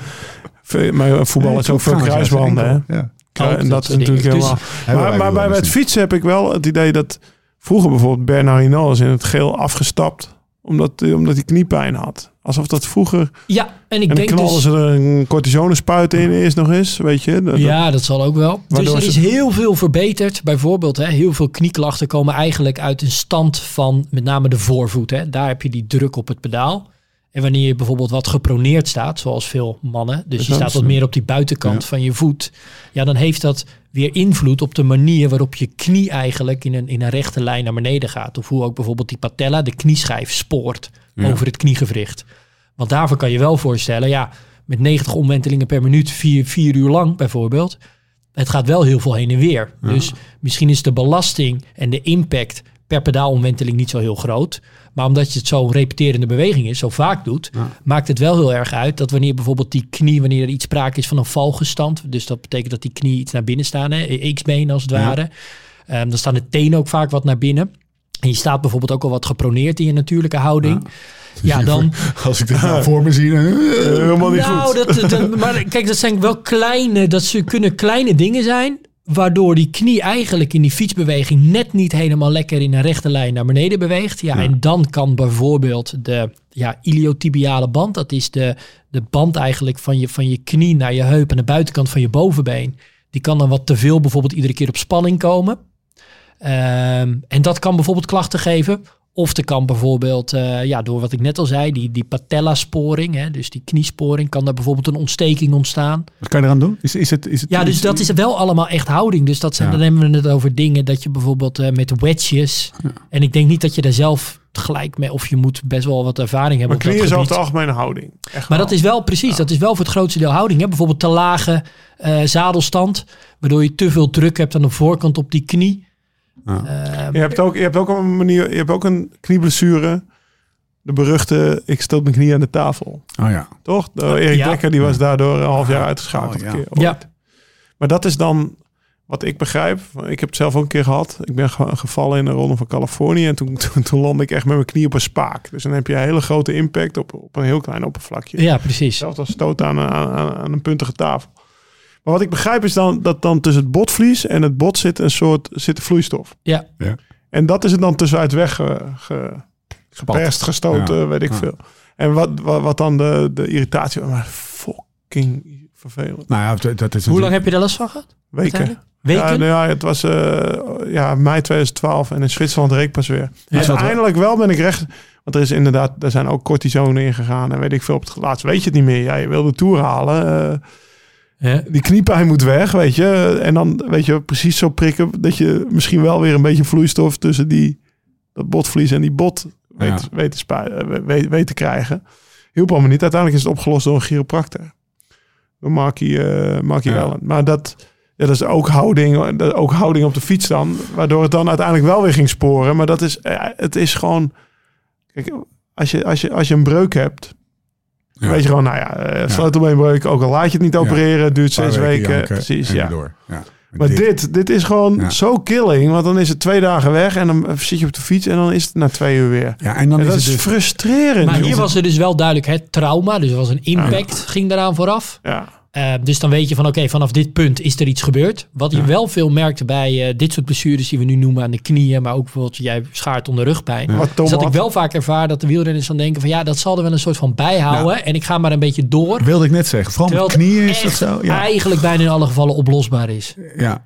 over- Maar voetbal is ook veel kruisbanden, hè?
Ja.
Oh,
En
dat
dat is
soort
natuurlijk
dingen.
Dus-
helemaal... Maar, maar bij het fietsen heb ik wel het idee dat... Vroeger bijvoorbeeld Bernard Hinault is in het geel afgestapt. Omdat, omdat hij kniepijn had. Alsof dat vroeger...
Ja, en ik
en dan
denk
knallen
dus...
ze er een cortisonespuit in eerst nog eens. Weet je? eh, Dat-
Ja, dat zal ook wel. Dus
Waardoor
er
ze-
is heel veel verbeterd. Bijvoorbeeld, hè, heel veel knieklachten komen eigenlijk uit een stand van met name de voorvoet. Hè. Daar heb je die druk op het pedaal. En wanneer je bijvoorbeeld wat geproneerd staat, zoals veel mannen, dus je
dat
staat
is eh,
wat meer op die buitenkant van je voet, ja, dan heeft dat weer invloed op de manier waarop je knie eigenlijk in een, in een rechte lijn naar beneden gaat. Of hoe ook bijvoorbeeld die patella, de knieschijf, spoort over het kniegewricht. Want daarvoor kan je wel voorstellen, ja, met 90 omwentelingen per minuut, vier, vier uur lang bijvoorbeeld. Het gaat wel heel veel heen en weer. Dus misschien is de belasting en de impact per pedaalomwenteling niet zo heel groot. Maar omdat je het zo'n repeterende beweging is, zo vaak doet, maakt het wel heel erg uit dat wanneer bijvoorbeeld die knie, wanneer er iets sprake is van een valgestand. Dus dat betekent dat die knie iets naar binnen staan, hè, e- X-been als het ware. Ehm, dan staan de tenen ook vaak wat naar binnen. En je staat bijvoorbeeld ook al wat geproneerd in je natuurlijke houding. ja dan,
Als ik dit nou voor me zie, dan- helemaal niet goed.
nou, dat, dat- maar kijk, dat zijn wel kleine, dat ze kunnen kleine dingen zijn. Waardoor die knie eigenlijk in die fietsbeweging net niet helemaal lekker in een rechte lijn naar beneden beweegt. Ja, en dan kan bijvoorbeeld de ja, iliotibiale band, dat is de, de band eigenlijk van je, van je knie naar je heup en de buitenkant van je bovenbeen. Die kan dan wat te veel bijvoorbeeld iedere keer op spanning komen. Ehm, en dat kan bijvoorbeeld klachten geven. Of er kan bijvoorbeeld, eh, ja, door wat ik net al zei, die, die patella-sporing, hè, dus die kniesporing, kan daar bijvoorbeeld een ontsteking ontstaan.
Wat kan je eraan doen? Is, is het, is het,
Ja, dus dat is wel allemaal echt houding. Dus dat zijn,
Ja.
dan hebben we het over dingen dat je bijvoorbeeld eh, met wedges. En ik denk niet dat je daar zelf gelijk mee, of je moet best wel wat ervaring
Maar
hebben. op dat
knieën is over de
gebied.
algemene houding. Echt
Maar
wel.
dat is wel precies, dat is wel voor het grootste deel houding. Hè? Bijvoorbeeld te lage eh, zadelstand, waardoor je te veel druk hebt aan de voorkant op die knie. Ehm,
Je hebt ook, je hebt ook een manier, je hebt ook een knieblessure. De beruchte, ik stoot mijn knie aan de tafel.
Oh ja.
Toch? De- Erik
Ja.
Dekker die was daardoor een half jaar uitgeschakeld.
Oh, ja.
een keer, ooit.
Ja.
Maar dat is dan wat ik begrijp. Ik heb het zelf ook een keer gehad. Ik ben ge- gevallen in de ronde van Californië. En toen, toen, toen landde ik echt met mijn knie op een spaak. Dus dan heb je een hele grote impact op, op een heel klein oppervlakje.
Ja, precies.
Zelfs als stoot aan, aan, aan, aan een puntige tafel. Maar wat ik begrijp is dan dat dan tussen het botvlies en het bot zit een soort zit de vloeistof.
Ja.
Ja.
En dat is het dan tussenuit weg eh, ge, ge, geperst, gestoten,
Ja.
weet ik
Ja.
veel. En wat, wat, wat dan de, de irritatie. oh, Maar fucking vervelend.
Nou ja, dat- dat is
Hoe lang heb je daar last van gehad?
Weken.
uiteindelijk? Weken?
Ja, nou ja, het was eh, ja, mei 2012 en in Zwitserland reek pas weer.
is wat-
Uiteindelijk wel ben ik recht. Want er is inderdaad, daar zijn ook cortisonen in gegaan. En weet ik veel, op het laatst weet je het niet meer. Ja, je wil de Tour halen. eh,
Ja.
die kniepijn moet weg, weet je. En dan, weet je, precies zo prikken dat je misschien wel weer een beetje vloeistof tussen die, dat botvlies en die bot weet,
Ja.
weet, te, spu- eh, we- weet, weet te krijgen. Hielp allemaal niet. Uiteindelijk is het opgelost door een chiropractor. Door Marky, eh Marky
Ja.
Allen. Maar dat, ja, dat is ook houding, eh, dat is ook houding op de fiets dan. Waardoor het dan uiteindelijk wel weer ging sporen. Maar dat is, eh, het is gewoon... Kijk, als je, als je, als je een breuk hebt...
Ja.
Weet je gewoon, nou ja, eh, sleutelbeenbreuk, ook al laat je het niet
Ja.
opereren, het duurt zes weken.
janken
precies,
en
ja.
weer Door. ja.
Maar dit, dit is gewoon
Ja.
zo killing. Want dan is het twee dagen weg en dan eh, zit je op de fiets en dan is het na twee uur weer.
Ja, en dan
en dat
is
is
het dus...
frustrerend.
Maar hier
joh.
was er dus wel duidelijk het trauma. Dus er was een impact, ging daaraan vooraf.
Ja,
Eh, dus dan weet je van oké, vanaf dit punt is er iets gebeurd. Wat je wel veel merkte bij eh, dit soort blessures die we nu noemen aan de knieën, maar ook bijvoorbeeld jij schaart onder rugpijn.
Wat
Dus
Tom
dat ik
had.
wel vaak ervaar dat de wielrenners dan denken van ja, dat zal er wel een soort van bijhouden. En ik ga maar een beetje door.
Wilde ik net zeggen. Vooral
Terwijl
met
het
knieën is dat
echt
zo. Ja.
eigenlijk bijna in alle gevallen oplosbaar is.
Ja,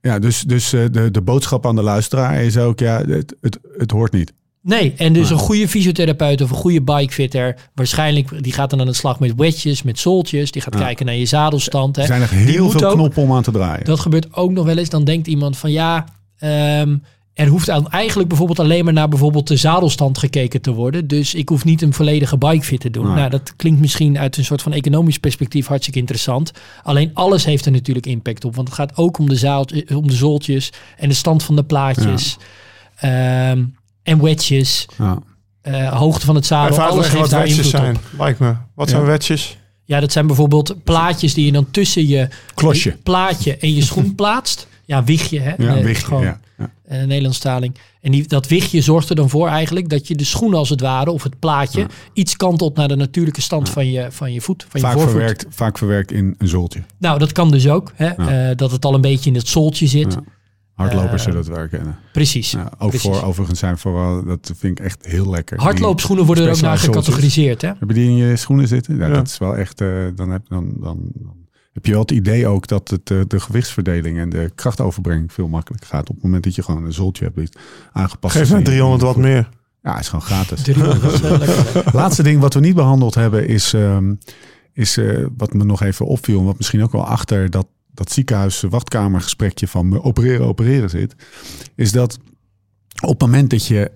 ja dus, dus eh, de, de boodschap aan de luisteraar is ook, ja, het, het, het hoort niet.
Nee, en
Ah.
dus een goede fysiotherapeut of een goede bikefitter, waarschijnlijk, die gaat dan aan de slag met wedges, met zooltjes. Die gaat kijken naar je zadelstand. Hè.
Er zijn er
Die
heel
moet
veel
ook-
knoppen om aan te draaien.
Dat gebeurt ook nog wel eens. Dan denkt iemand van ja, ehm, er hoeft aan eigenlijk bijvoorbeeld alleen maar naar bijvoorbeeld de zadelstand gekeken te worden. Dus ik hoef niet een volledige bikefit te doen.
Nee.
Nou, dat klinkt misschien uit een soort van economisch perspectief hartstikke interessant. Alleen alles heeft er natuurlijk impact op. Want het gaat ook om de, zaal, eh, om de zooltjes en de stand van de plaatjes. Ehm, en wedges.
Ja.
eh, hoogte van het zadel,
Even
alles
uitleggen
heeft
wat
daar invloed
wedges zijn,
op.
lijkt me. Wat zijn wedges?
Ja, dat zijn bijvoorbeeld plaatjes die je dan tussen je eh,
Klosje.
plaatje en je schoen plaatst. Ja, wichtje, hè?
Ja,
Eh,
wichtje,
gewoon,
ja, ja.
eh, Nederlandstaling. En die, dat wichtje zorgt er dan voor eigenlijk dat je de schoen als het ware, of het plaatje, iets kantelt naar de natuurlijke stand van, je, van je voet, van je
Vaak
voorvoet.
verwerkt, vaak verwerkt in een zooltje.
Nou, dat kan dus ook. Hè? eh, dat het al een beetje in het zooltje zit.
Ja. Hardlopers
Eh,
zullen het wel kennen.
Precies.
Ja, ook
precies.
voor, overigens zijn vooral, dat vind ik echt heel lekker. Die-
Hardloopschoenen worden er ook naar
specialized
gecategoriseerd. Hè?
Heb je die in je schoenen zitten? Ja,
Ja.
dat is wel echt. eh, dan, heb, dan, dan, dan heb je wel het idee ook dat het, eh, de gewichtsverdeling en de krachtoverbrenging veel makkelijker gaat. Op het moment dat je gewoon een zoltje hebt die aangepast.
Geef
is
mij
aan je-
300 wat meer.
Ja, is gewoon gratis.
Drie, dat is wel lekker.
Laatste ding wat we niet behandeld hebben is, ehm, is eh, wat me nog even opviel. en Wat misschien ook wel achter dat, dat ziekenhuis-wachtkamergesprekje van me opereren, opereren zit. Is dat op het moment dat je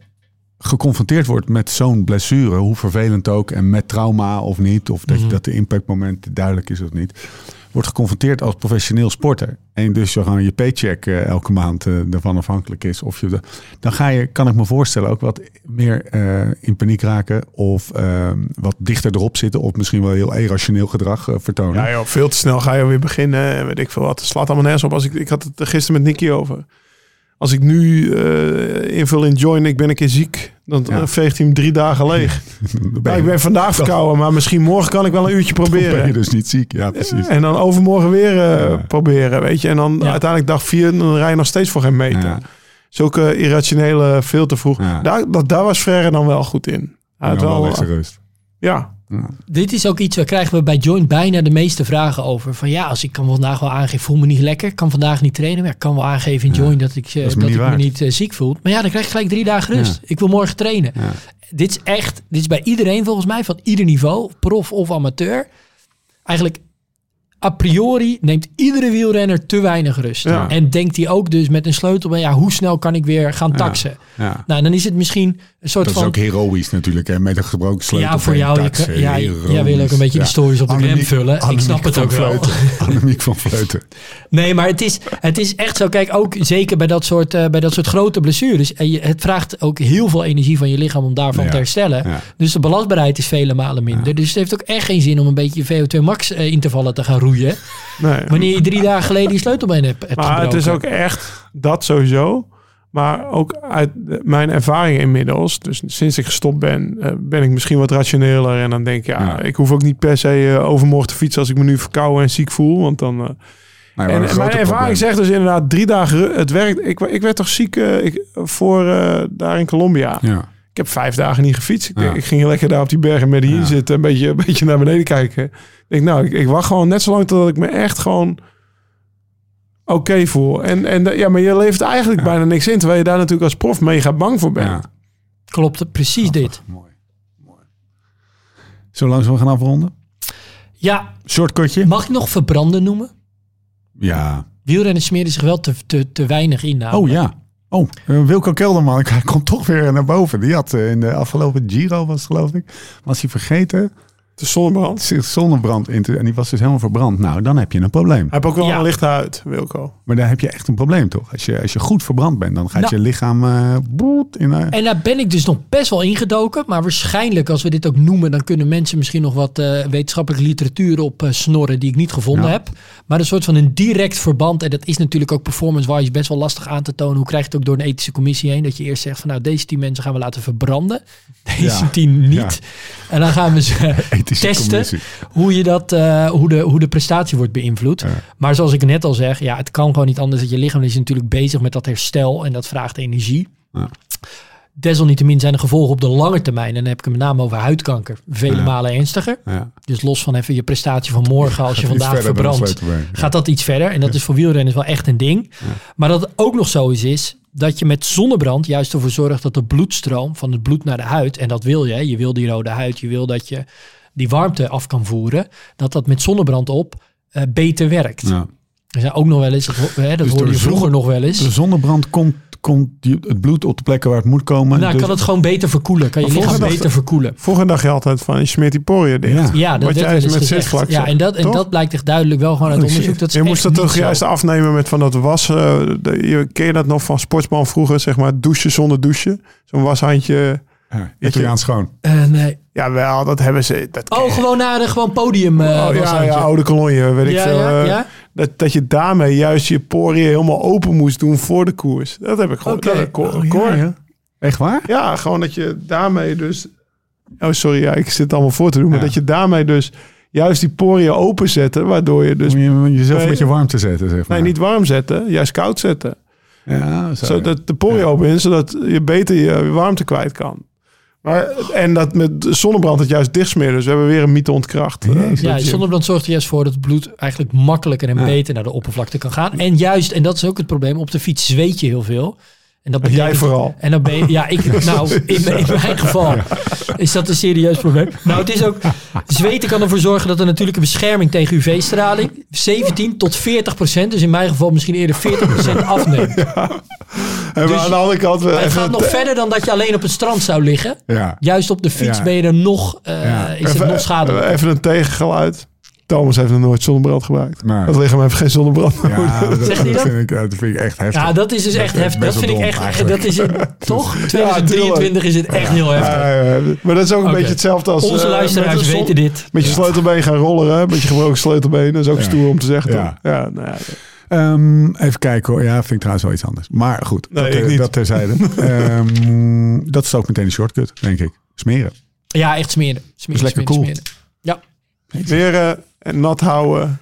geconfronteerd wordt met zo'n blessure, hoe vervelend ook, en met trauma of niet, of dat, je dat de impactmoment duidelijk is of niet, wordt geconfronteerd als professioneel sporter. En dus je gewoon je paycheck eh, elke maand eh, ervan afhankelijk is. Of je de- dan ga je, kan ik me voorstellen, ook wat meer eh, in paniek raken of eh, wat dichter erop zitten of misschien wel heel irrationeel gedrag eh, vertonen.
Ja, joh, veel te snel ga je weer beginnen. en Weet ik veel wat. Het slaat allemaal nergens op. Als ik, ik had het er gisteren met Nicky over. Als ik nu eh, invul in join, ik ben een keer ziek. Dan
Ja.
eh, veegt hij hem drie dagen leeg.
Nou,
Dan ben
Ja,
je-
ik ben vandaag verkouden, maar misschien morgen kan ik wel een uurtje
dan ben je
proberen.
dus niet ziek. Ja, precies.
En dan overmorgen weer eh,
Ja.
proberen, weet je. En dan
Ja.
uiteindelijk dag vier, dan rij je nog steeds voor geen meter.
Nou,
Ja.
Zulke irrationele, veel te vroeg.
Ja.
Daar, dat, daar was Frère dan wel goed in. Hij had
Dan wel
wel,
eh,
extra rust.
ja,
Dit is ook iets, daar krijgen we bij Joint bijna de meeste vragen over. Van ja, als ik kan vandaag wel aangeven, voel me niet lekker. Kan vandaag niet trainen, maar ik kan wel aangeven in Joint dat ik, eh,
dat is me
dat
niet
ik me
waard.
niet eh, ziek voel. Maar ja, dan krijg ik gelijk drie dagen rust. Ik wil morgen trainen.
Ja.
Dit is echt, dit is bij iedereen volgens mij, van ieder niveau, prof of amateur. Eigenlijk a priori neemt iedere wielrenner te weinig rust.
Ja.
En denkt hij ook dus met een sleutel bij, ja, hoe snel kan ik weer gaan taxen?
Ja.
Nou, dan is het misschien een soort
Dat is
van...
ook heroïs natuurlijk, hè? met een gebroken sleutel.
Ja, voor
en
jou. je
tax,
kan-
hè,
ja,
heroïs.
jij wil ook een beetje
Ja.
de stories op de gram
Annemiek-
vullen. Ik
Annemiek
snap het
van
ook wel.
Vleuten. Annemiek van Vleuten.
Nee, maar het is, het is echt zo. Kijk, ook zeker bij dat soort, eh, bij dat soort grote blessures. En je, het vraagt ook heel veel energie van je lichaam om daarvan
Ja,
te herstellen.
ja. Nou,
Dus de belastbaarheid is vele malen minder. Dus het heeft ook echt geen zin om een beetje VO2 max eh, intervallen te gaan roeien.
nee.
Wanneer je drie dagen geleden je sleutelbeen hebt, hebt
Maar het
gebroken.
is ook echt dat sowieso. Maar ook uit de- mijn ervaring inmiddels. Dus sinds ik gestopt ben, eh, ben ik misschien wat rationeler. En dan denk ik, ja,
Ja.
ik hoef ook niet per se eh, overmorgen te fietsen als ik me nu verkouden en ziek voel. Want dan. eh,
Nou,
en,
ja, maar een
en
grote
mijn ervaring
probleem.
zegt dus inderdaad drie dagen. ru- Het werkt. Ik, wa- ik werd toch ziek eh, ik, voor eh, daar in Colombia.
Ja.
Ik heb vijf dagen niet gefietst. Ik,
Ja.
ik ging lekker daar op die bergen met die
Ja.
zitten. Een beetje, een beetje naar beneden kijken. Ik denk, nou, ik, ik wacht gewoon net zo lang totdat ik me echt gewoon oké voel. En, en eh, ja, maar je levert eigenlijk bijna niks in. Terwijl je daar natuurlijk als prof mega bang voor bent.
Ja.
Klopt, precies dit.
Mooi. Mooi. Zo langzaam we gaan afronden.
Ja,
Shortcutje.
mag ik nog verbranden noemen?
Ja.
Wielrenners smeren zich wel te, te, te weinig in. namelijk.
Oh ja. Oh, eh, Wilco Kelderman hij komt toch weer naar boven. Die had eh, in de afgelopen Giro, was het, geloof ik, was hij vergeten
De zonnebrand.
zich zonnebrand in te... En die was dus helemaal verbrand. Nou, dan heb je een probleem.
Hij heeft ook wel
Ja.
een licht huid, Wilco.
Maar daar heb je echt een probleem, toch? Als je, als je goed verbrand bent, dan gaat
Nou.
je lichaam... eh boet in, eh,
En daar ben ik dus nog best wel ingedoken. Maar waarschijnlijk, als we dit ook noemen, dan kunnen mensen misschien nog wat eh, wetenschappelijke literatuur op eh, snorren die ik niet gevonden
Ja.
heb. Maar een soort van een direct verband. En dat is natuurlijk ook performance-wise best wel lastig aan te tonen. Hoe krijg je het ook door een ethische commissie heen? Dat je eerst zegt van nou, deze tien mensen gaan we laten verbranden. Deze
Ja.
tien niet.
Ja.
En dan gaan we ze
ethische
testen
commissie.
hoe, je dat, eh, hoe, de, hoe de prestatie wordt beïnvloed.
Ja.
Maar zoals ik net al zeg, ja, het kan gewoon niet anders. Dat je lichaam is natuurlijk bezig met dat herstel en dat vraagt energie.
Ja.
Desalniettemin zijn de gevolgen op de lange termijn. En dan heb ik het met name over huidkanker. Vele
Ja.
malen ernstiger.
Ja.
Dus los van even je prestatie van morgen als je
Iets
vandaag
verder dan een
verbrandt
sleutelbeen.
gaat dat iets verder. En dat is voor wielrenners wel echt een ding. Maar dat het ook nog zo is, is dat je met zonnebrand juist ervoor zorgt dat de bloedstroom van het bloed naar de huid, en dat wil je, hè, je wil die rode huid, je wil dat je die warmte af kan voeren, dat dat met zonnebrand op eh, beter werkt.
Ja.
Er zijn ook nog wel eens, dat, ho- hè, dat
Dus
hoorde
door
je
de
vroeger
zon-
nog wel eens.
De zonnebrand komt, komt die- het bloed op de plekken waar het moet komen.
Nou,
Dus-
kan het gewoon beter verkoelen. Kan je
Maar
lichaam
vroeger
beter verkoelen.
Vroeger dacht je altijd van, je smeert die poriën dicht.
Ja.
Ja, dat
Wat
werd
jij
wel
eens
eens
met
gezegd.
zitvlak
Ja,
zegt,
en dat, en
toch? Oh,
dat blijkt echt duidelijk wel gewoon uit
Holy
onderzoek.
shit.
Dat is
je moest
echt
dat toch
niet zo.
juist afnemen met van dat was. eh, de- je ken je dat nog van sportsman vroeger, zeg maar, douchen zonder douchen. Zo'n washandje
Ja, Italiaans schoon.
Eh, nee.
Jawel, dat hebben ze. Dat
Oh, gewoon naar de gewoon podium. eh,
Oh,
was
ja,
dat.
ja, oude kolonje, weet ik
Ja,
veel.
ja,
eh,
ja.
Dat, dat je daarmee juist je poriën helemaal open moest doen voor de koers. Dat heb ik gewoon.
Oké.
Dat heb ik geho-
Oh,
gehoord. ja,
Echt waar?
gewoon dat je daarmee dus... Oh, sorry, ja, ik zit het allemaal voor te doen. Maar
Ja.
dat je daarmee dus juist die poriën openzetten, waardoor je dus...
Om je, jezelf
Nee.
een beetje warm te zetten, zeg maar.
Nee, niet warm zetten, juist koud zetten.
Ja, zo. ja.
Zodat de poriën open is, zodat je beter je warmte kwijt kan. Maar, en dat met zonnebrand het juist dichtsmeren. Dus we hebben weer een mythe ontkracht. eh,
Jezus.
Ja,
dat je-
zonnebrand zorgt er juist voor dat het bloed eigenlijk makkelijker en
Ja.
beter naar de oppervlakte kan gaan. En juist, en dat is ook het probleem, op de fiets zweet je heel veel. En dat betekent,
Jij vooral.
En dan ben je, ja, ik, nou, in, mijn- in mijn geval is dat een serieus probleem. Nou, het is ook, zweten kan ervoor zorgen dat er natuurlijke bescherming tegen UV-straling 17 tot 40 procent, dus in mijn geval misschien eerder 40 procent afneemt.
En
Dus
aan de andere kant... we
het
even
gaat nog verder dan dat je alleen op het strand zou liggen.
Ja.
Juist op de fiets
Ja.
ben je er nog, eh,
Ja.
is het nog schadelijk.
Even een tegengeluid. Thomas heeft nog nooit zonnebrand gebruikt.
Nee.
Dat lichaam heeft geen zonnebrand.
dat,
Zegt hij dat?
Vind ik, eh, dat vind ik echt heftig.
Ja, dat is dus echt
is
heftig. Dat
best
vind
wel
ik
dom
echt,
eigenlijk.
dat is het, toch? 2023 is het echt heel heftig.
Eh, maar dat is ook een
Oké.
beetje hetzelfde als...
Onze
eh,
luisteraars
met een zon-
weten dit.
Met je sleutelbeen gaan rollen, hè? Met je gebroken sleutelbeen. Dat is ook
Ja.
stoer om te zeggen. toch?
Ja.
ja nou ja.
Ehm, even kijken hoor. Ja, vind ik trouwens wel iets anders. Maar goed,
Nee,
dat,
ik
eh,
niet.
dat terzijde. Ehm, dat is ook meteen een shortcut, denk ik. Smeren.
Ja, echt smeren. smeren
is lekker
smeren,
cool.
smeren. Ja.
Smeren en nat houden.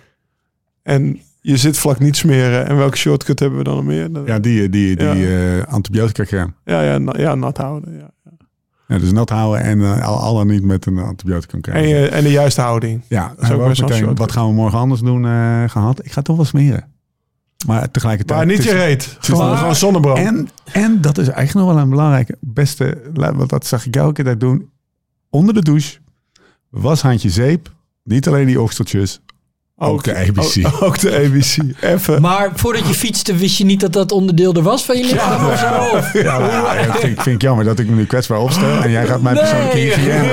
En je zitvlak niet smeren. En welke shortcut hebben we dan nog meer? Dan-
Ja, die, eh, die, die
Ja.
eh, antibiotica crème.
Ja, ja, na- ja, nat houden. Ja.
Ja, dus nat houden en eh, al, al dan niet met een antibiotica crème.
En, je, en de juiste houding.
ja, hebben
eh, ook
we ook
best wel een
meteen,
shortcut.
wat gaan we morgen anders doen eh, gehad. Ik ga toch wel smeren. Maar tegelijkertijd...
Maar niet
het
je
is-
reet. Gewoon,
maar-
gewoon zonnebrand.
En, en dat is eigenlijk nog wel een belangrijke beste, want dat zag ik jou ook tijd doen. Onder de douche, washandje zeep, niet alleen die oksteltjes, ook, de ABC.
Ook, ook de ABC. Even.
Maar voordat je fietste, wist je niet dat dat onderdeel er was van je lichaam of zo? Of-
Ja, maar ja, ik vind, vind ik jammer dat ik me nu kwetsbaar opstel en jij gaat mijn persoonlijke
Nee.
hygiëne.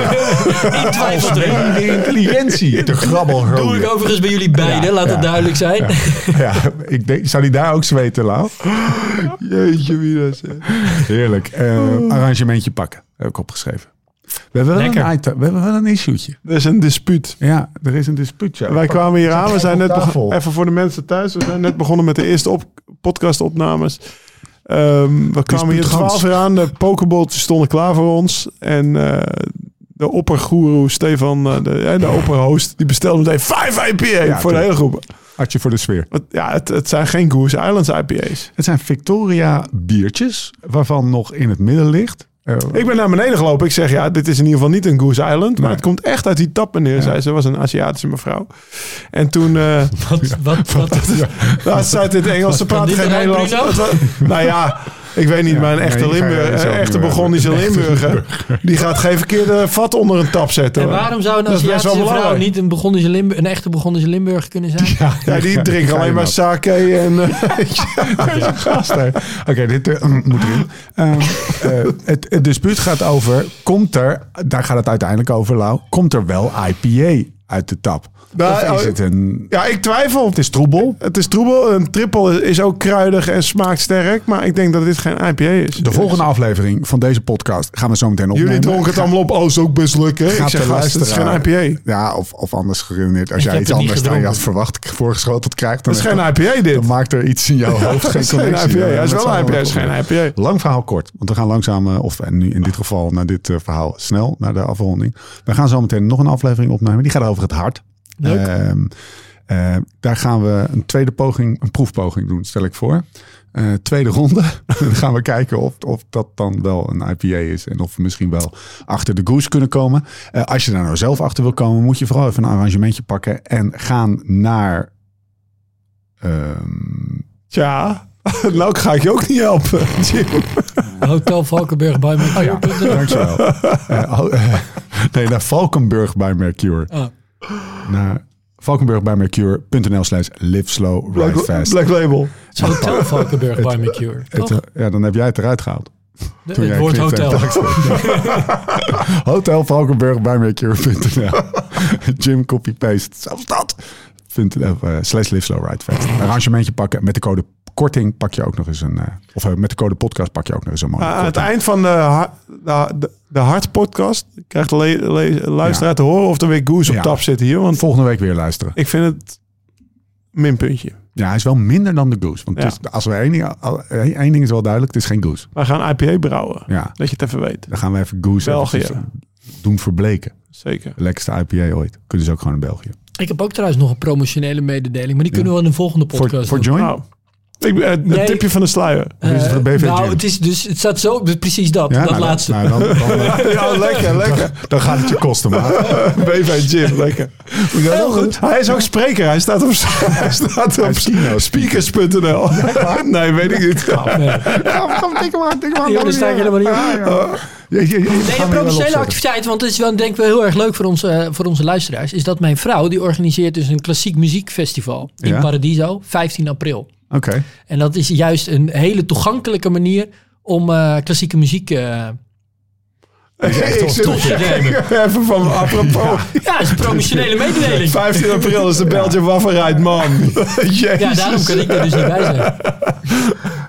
Ik twijfel erin.
De intelligentie, de grabbel.
Doe ik overigens bij jullie beiden, laat het duidelijk zijn.
Ja, ik denk, zou die daar ook zweten, Lau?
Jeetje, wie dat zegt. Oh.
Heerlijk. Eh, arrangementje pakken, heb ik opgeschreven. We hebben wel,
Lekker.
een, item- we hebben wel een issue'tje.
Er is een dispuut.
Ja, er is een dispuutje.
Wij kwamen hier aan. We zijn net
Op tafel.
begonnen. Even voor de mensen thuis. We zijn net begonnen met de eerste op podcastopnames. Ehm, we kwamen hier
Dispuut gans.
12 uur aan. De pokebolletjes stonden klaar voor ons. En eh, de oppergoeroe Stefan, eh, de, eh, de opperhost, die bestelde meteen 5 IPA voor de
tuurlijk.
hele groep.
Hartje voor de sfeer.
Want ja, het, het zijn geen Goose Islands IPA's.
Het zijn Victoria biertjes, waarvan nog in het midden ligt. Eh,
Ik ben naar beneden gelopen. Ik zeg, ja, dit is in ieder geval niet een Goose Island. Maar
Nee.
het komt echt uit die tap, meneer, zei ze. was een Aziatische mevrouw. En toen... eh,
Wat, wat, wat,
Nou, ze uit in het Engels, ze
Kan
praten
dit
geen
eruit,
Nederlands.
Bruno?
Het wa- Nou ja, ik weet niet,
Ja,
maar een echte
nee, die ga je
Limburger,
zelf
een
niet
echte
meer
Begonnische Limburger, die gaat geen verkeerde vat onder een tap zetten.
en
hoor.
waarom zou een
Dat is best wel
Aziatische vrouw
belangrijk.
niet een, Begonnische Limburg, een echte Begonnische Limburg kunnen zijn?
Ja, die drinken alleen maar sake en... eh,
gasten. Oké, dit eh, mm, moet erin. Ehm, eh, het, het dispuut gaat over, komt er, daar gaat het uiteindelijk over, Lau, komt er wel IPA uit de tap?
Nou,
of is
oh,
het een...
ja, ik twijfel. Het is
troebel.
Het is troebel. Een triple is ook kruidig en smaakt sterk, maar ik denk dat dit geen IPA is.
De volgende aflevering van deze podcast gaan we zo meteen opnemen.
eh, Jullie dronken het allemaal op. Oh, is ook best leuk, hè? Ik
Gaat
zeg,
de
gast, het is geen
luisteraar-
IPA.
Ja, of, of anders geruineerd. Als
Ik
jij
heb
iets
het niet
anders dan je had
gedronken.
voorwacht voorgeschoteld krijgt, dan,
Het is geen IPA, dit.
dan maakt er iets in jouw hoofd
Het
geen
is geen
connectie.
IPA.
Ja,
Hij is
dat
wel
zou
een IPA, het is
wel-
geen IPA.
Lang verhaal kort, want we gaan langzaam, eh, of en nu in dit geval naar dit eh, verhaal, snel naar de afronding. We gaan zo meteen nog een aflevering opnemen. Die gaat over het hart.
Leuk.
Ehm, eh, daar gaan we een tweede poging, een proefpoging doen, stel ik voor. Eh, tweede ronde. dan gaan we kijken of, of dat dan wel een IPA is. En of we misschien wel achter de goose kunnen komen. Eh, als je daar nou zelf achter wil komen, moet je vooral even een arrangementje pakken. En gaan naar. ehm,
Tja, nou ga ik je ook niet helpen, Jim.
Hotel Valkenburg bij me.
Oh ja, dankjewel. Eh, oh, eh, nee, naar Valkenburg bij Mercure.
Ah.
Naar Valkenburg bij Mercure.nl slash live slow, ride
Black,
fast.
Black Label.
Hotel Valkenburg by Mercure.
Het,
Toch?
eh, ja, dan heb jij het eruit gehaald.
Het
jij
woord
knipte.
hotel.
Hotel Valkenburg bij Mercure.nl Jim copy paste. Zelfs dat. Punt, eh, slash live slow, ride fast. Arrangementje pakken met de code korting pak je ook nog eens een... eh, of eh, met de code podcast pak je ook nog eens een mooie
Maar aan Ah, het
korting.
eind van de, ha- de, de, de Hart podcast krijgt de le- le- luisteraar te horen of er weer Goose op
Ja.
tap zit hier. Want
Volgende week weer luisteren.
ik vind het minpuntje.
Ja, hij is wel minder dan de Goose. Want het
Ja.
is- als we één ding, al- één ding is wel duidelijk, het is geen Goose.
Wij gaan IPA brouwen.
Ja,
Dat je het even weet.
dan gaan we even Goose
België.
eventjes eh, doen verbleken.
Zeker.
De lekkerste IPA ooit. Kunnen ze ook gewoon in België.
Ik heb ook trouwens nog een promotionele mededeling, maar die kunnen we in een volgende podcast
Voor, voor
doen.
Join?
Nou, ik, eh, het
Nee.
tipje van de sluier.
Of is het voor de
Eh,
BV
nou,
Gym?
het, is dus, het staat zo, dus precies dat,
Ja,
dat
nou,
laatste.
nou, dan, dan, dan,
Ja, lekker, lekker.
dan gaat het je kosten,
Oh,
maar.
BV Jim, lekker.
Heel goed.
Hij is ook spreker. Hij staat op, hij staat op
is keynote speaker.
speakers.nl. Nee, weet ik niet.
Tik hem aan, tik hem aan.
Ja, daar sta ik helemaal niet op.
ah,
Oh.
Nee,
Nee, een promotionele activiteit, want het is wel denk ik wel heel erg leuk voor onze, eh, voor onze luisteraars, is dat mijn vrouw, die organiseert dus een klassiek muziekfestival in
Ja?
Paradiso, 15 april.
Oké.
En dat is juist een hele toegankelijke manier om eh, klassieke muziek eh
Ik zit
tot te nemen.
even van apropos.
Ja, dat is een promotionele mededeling.
15 april is de Belgian Waffen Ride, man. Jezus.
Ja, daarom kan ik er dus niet bij zijn.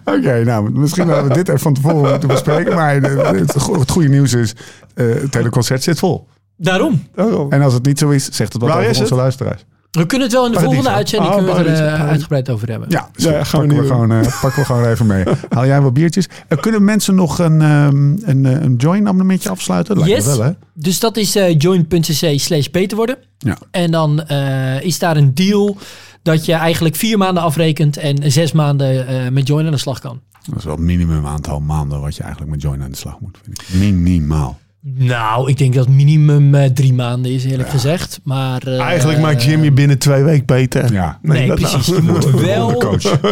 Oké, nou, misschien hadden we dit even van tevoren moeten bespreken. Maar eh, het, go- het goede nieuws is, eh, het hele concert zit vol.
Daarom.
Daarom.
En als het niet zo is, zegt het wat
Waar
over
is
onze
het?
luisteraars.
We kunnen het wel in de
Paradiso.
volgende uitzending
Oh,
kunnen we er, eh,
Paradiso.
uitgebreid over hebben.
Ja, dus
Ja,
goed,
gaan
pakken,
we niet
we
doen.
gewoon, eh, pakken we gewoon even mee. Haal jij wat biertjes? Eh, kunnen mensen nog een, ehm, een, eh, een join-abonnementje afsluiten? Lijkt
Yes.
me wel, hè?
Dus dat is eh, join.cc slash beter worden.
Ja.
En dan eh, is daar een deal dat je eigenlijk vier maanden afrekent en zes maanden eh, met Join aan de slag kan.
Dat is wel het minimum aantal maanden wat je eigenlijk met join aan de slag moet. Vind ik. Minimaal.
Nou, ik denk dat minimum eh, drie maanden is, eerlijk gezegd. Maar, eh,
Eigenlijk maakt Jimmy binnen twee weken beter.
Ja.
Nee,
dat
precies.
nou.
Je moet wel. Dat
Coach.
heb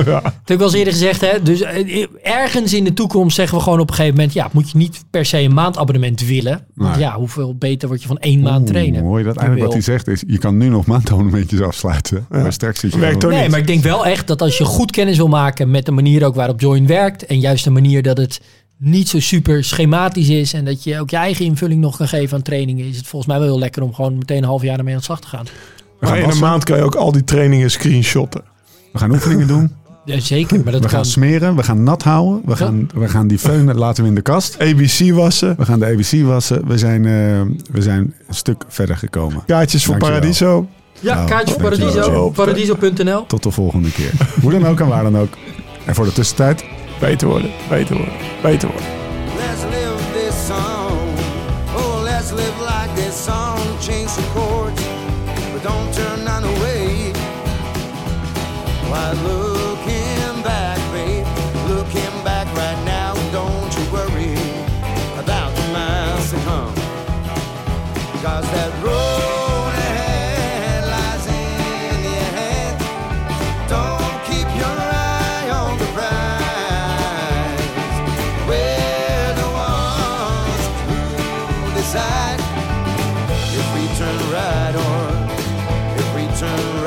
ik wel eens eerder gezegd. Hè? Dus eh, ergens in de toekomst zeggen we gewoon op een gegeven moment: ja, moet je niet per se een maandabonnement willen. Want
Nee.
ja, hoeveel beter word je van één maand
Oeh,
trainen?
Hoor je dat? Eigenlijk wat hij zegt is, je kan nu nog maandabonnementjes afsluiten. Maar straks zit je...
Werkt
gewoon-
ook
Nee, maar ik denk wel echt dat als je goed kennis wil maken met de manier ook waarop Join werkt. En juist de manier dat het niet zo super schematisch is. En dat je ook je eigen invulling nog kan geven aan trainingen. Is het volgens mij wel heel lekker om gewoon meteen een half jaar ermee aan de slag te gaan.
We
Maar
gaan,
in een
wassen,
maand kan je ook al die trainingen screenshotten.
we gaan oefeningen doen.
Ja, zeker, maar dat
We
kan.
gaan smeren. We gaan nat houden. We gaan, we gaan die föhn laten we in de kast.
ABC wassen.
We gaan de ABC wassen. We zijn, eh, we zijn een stuk verder gekomen.
Kaartjes voor
Dankjewel.
Paradiso.
Ja,
Nou,
kaartje voor
dankjewel,
Paradiso.
Joop.
Paradiso.nl.
Tot de volgende keer. Hoe dan ook en waar dan ook. En voor de tussentijd,
Beter worden, beter worden, beter worden.
Let's live this song. Oh, let's live like this song. Change the chords, but don't turn none away. Why looking back, babe? Looking back right now, don't you worry about the miles to come. Cause that road ahead lies in your head. Don't keep your eye on the prize. We're the ones who decide if we turn right or if we turn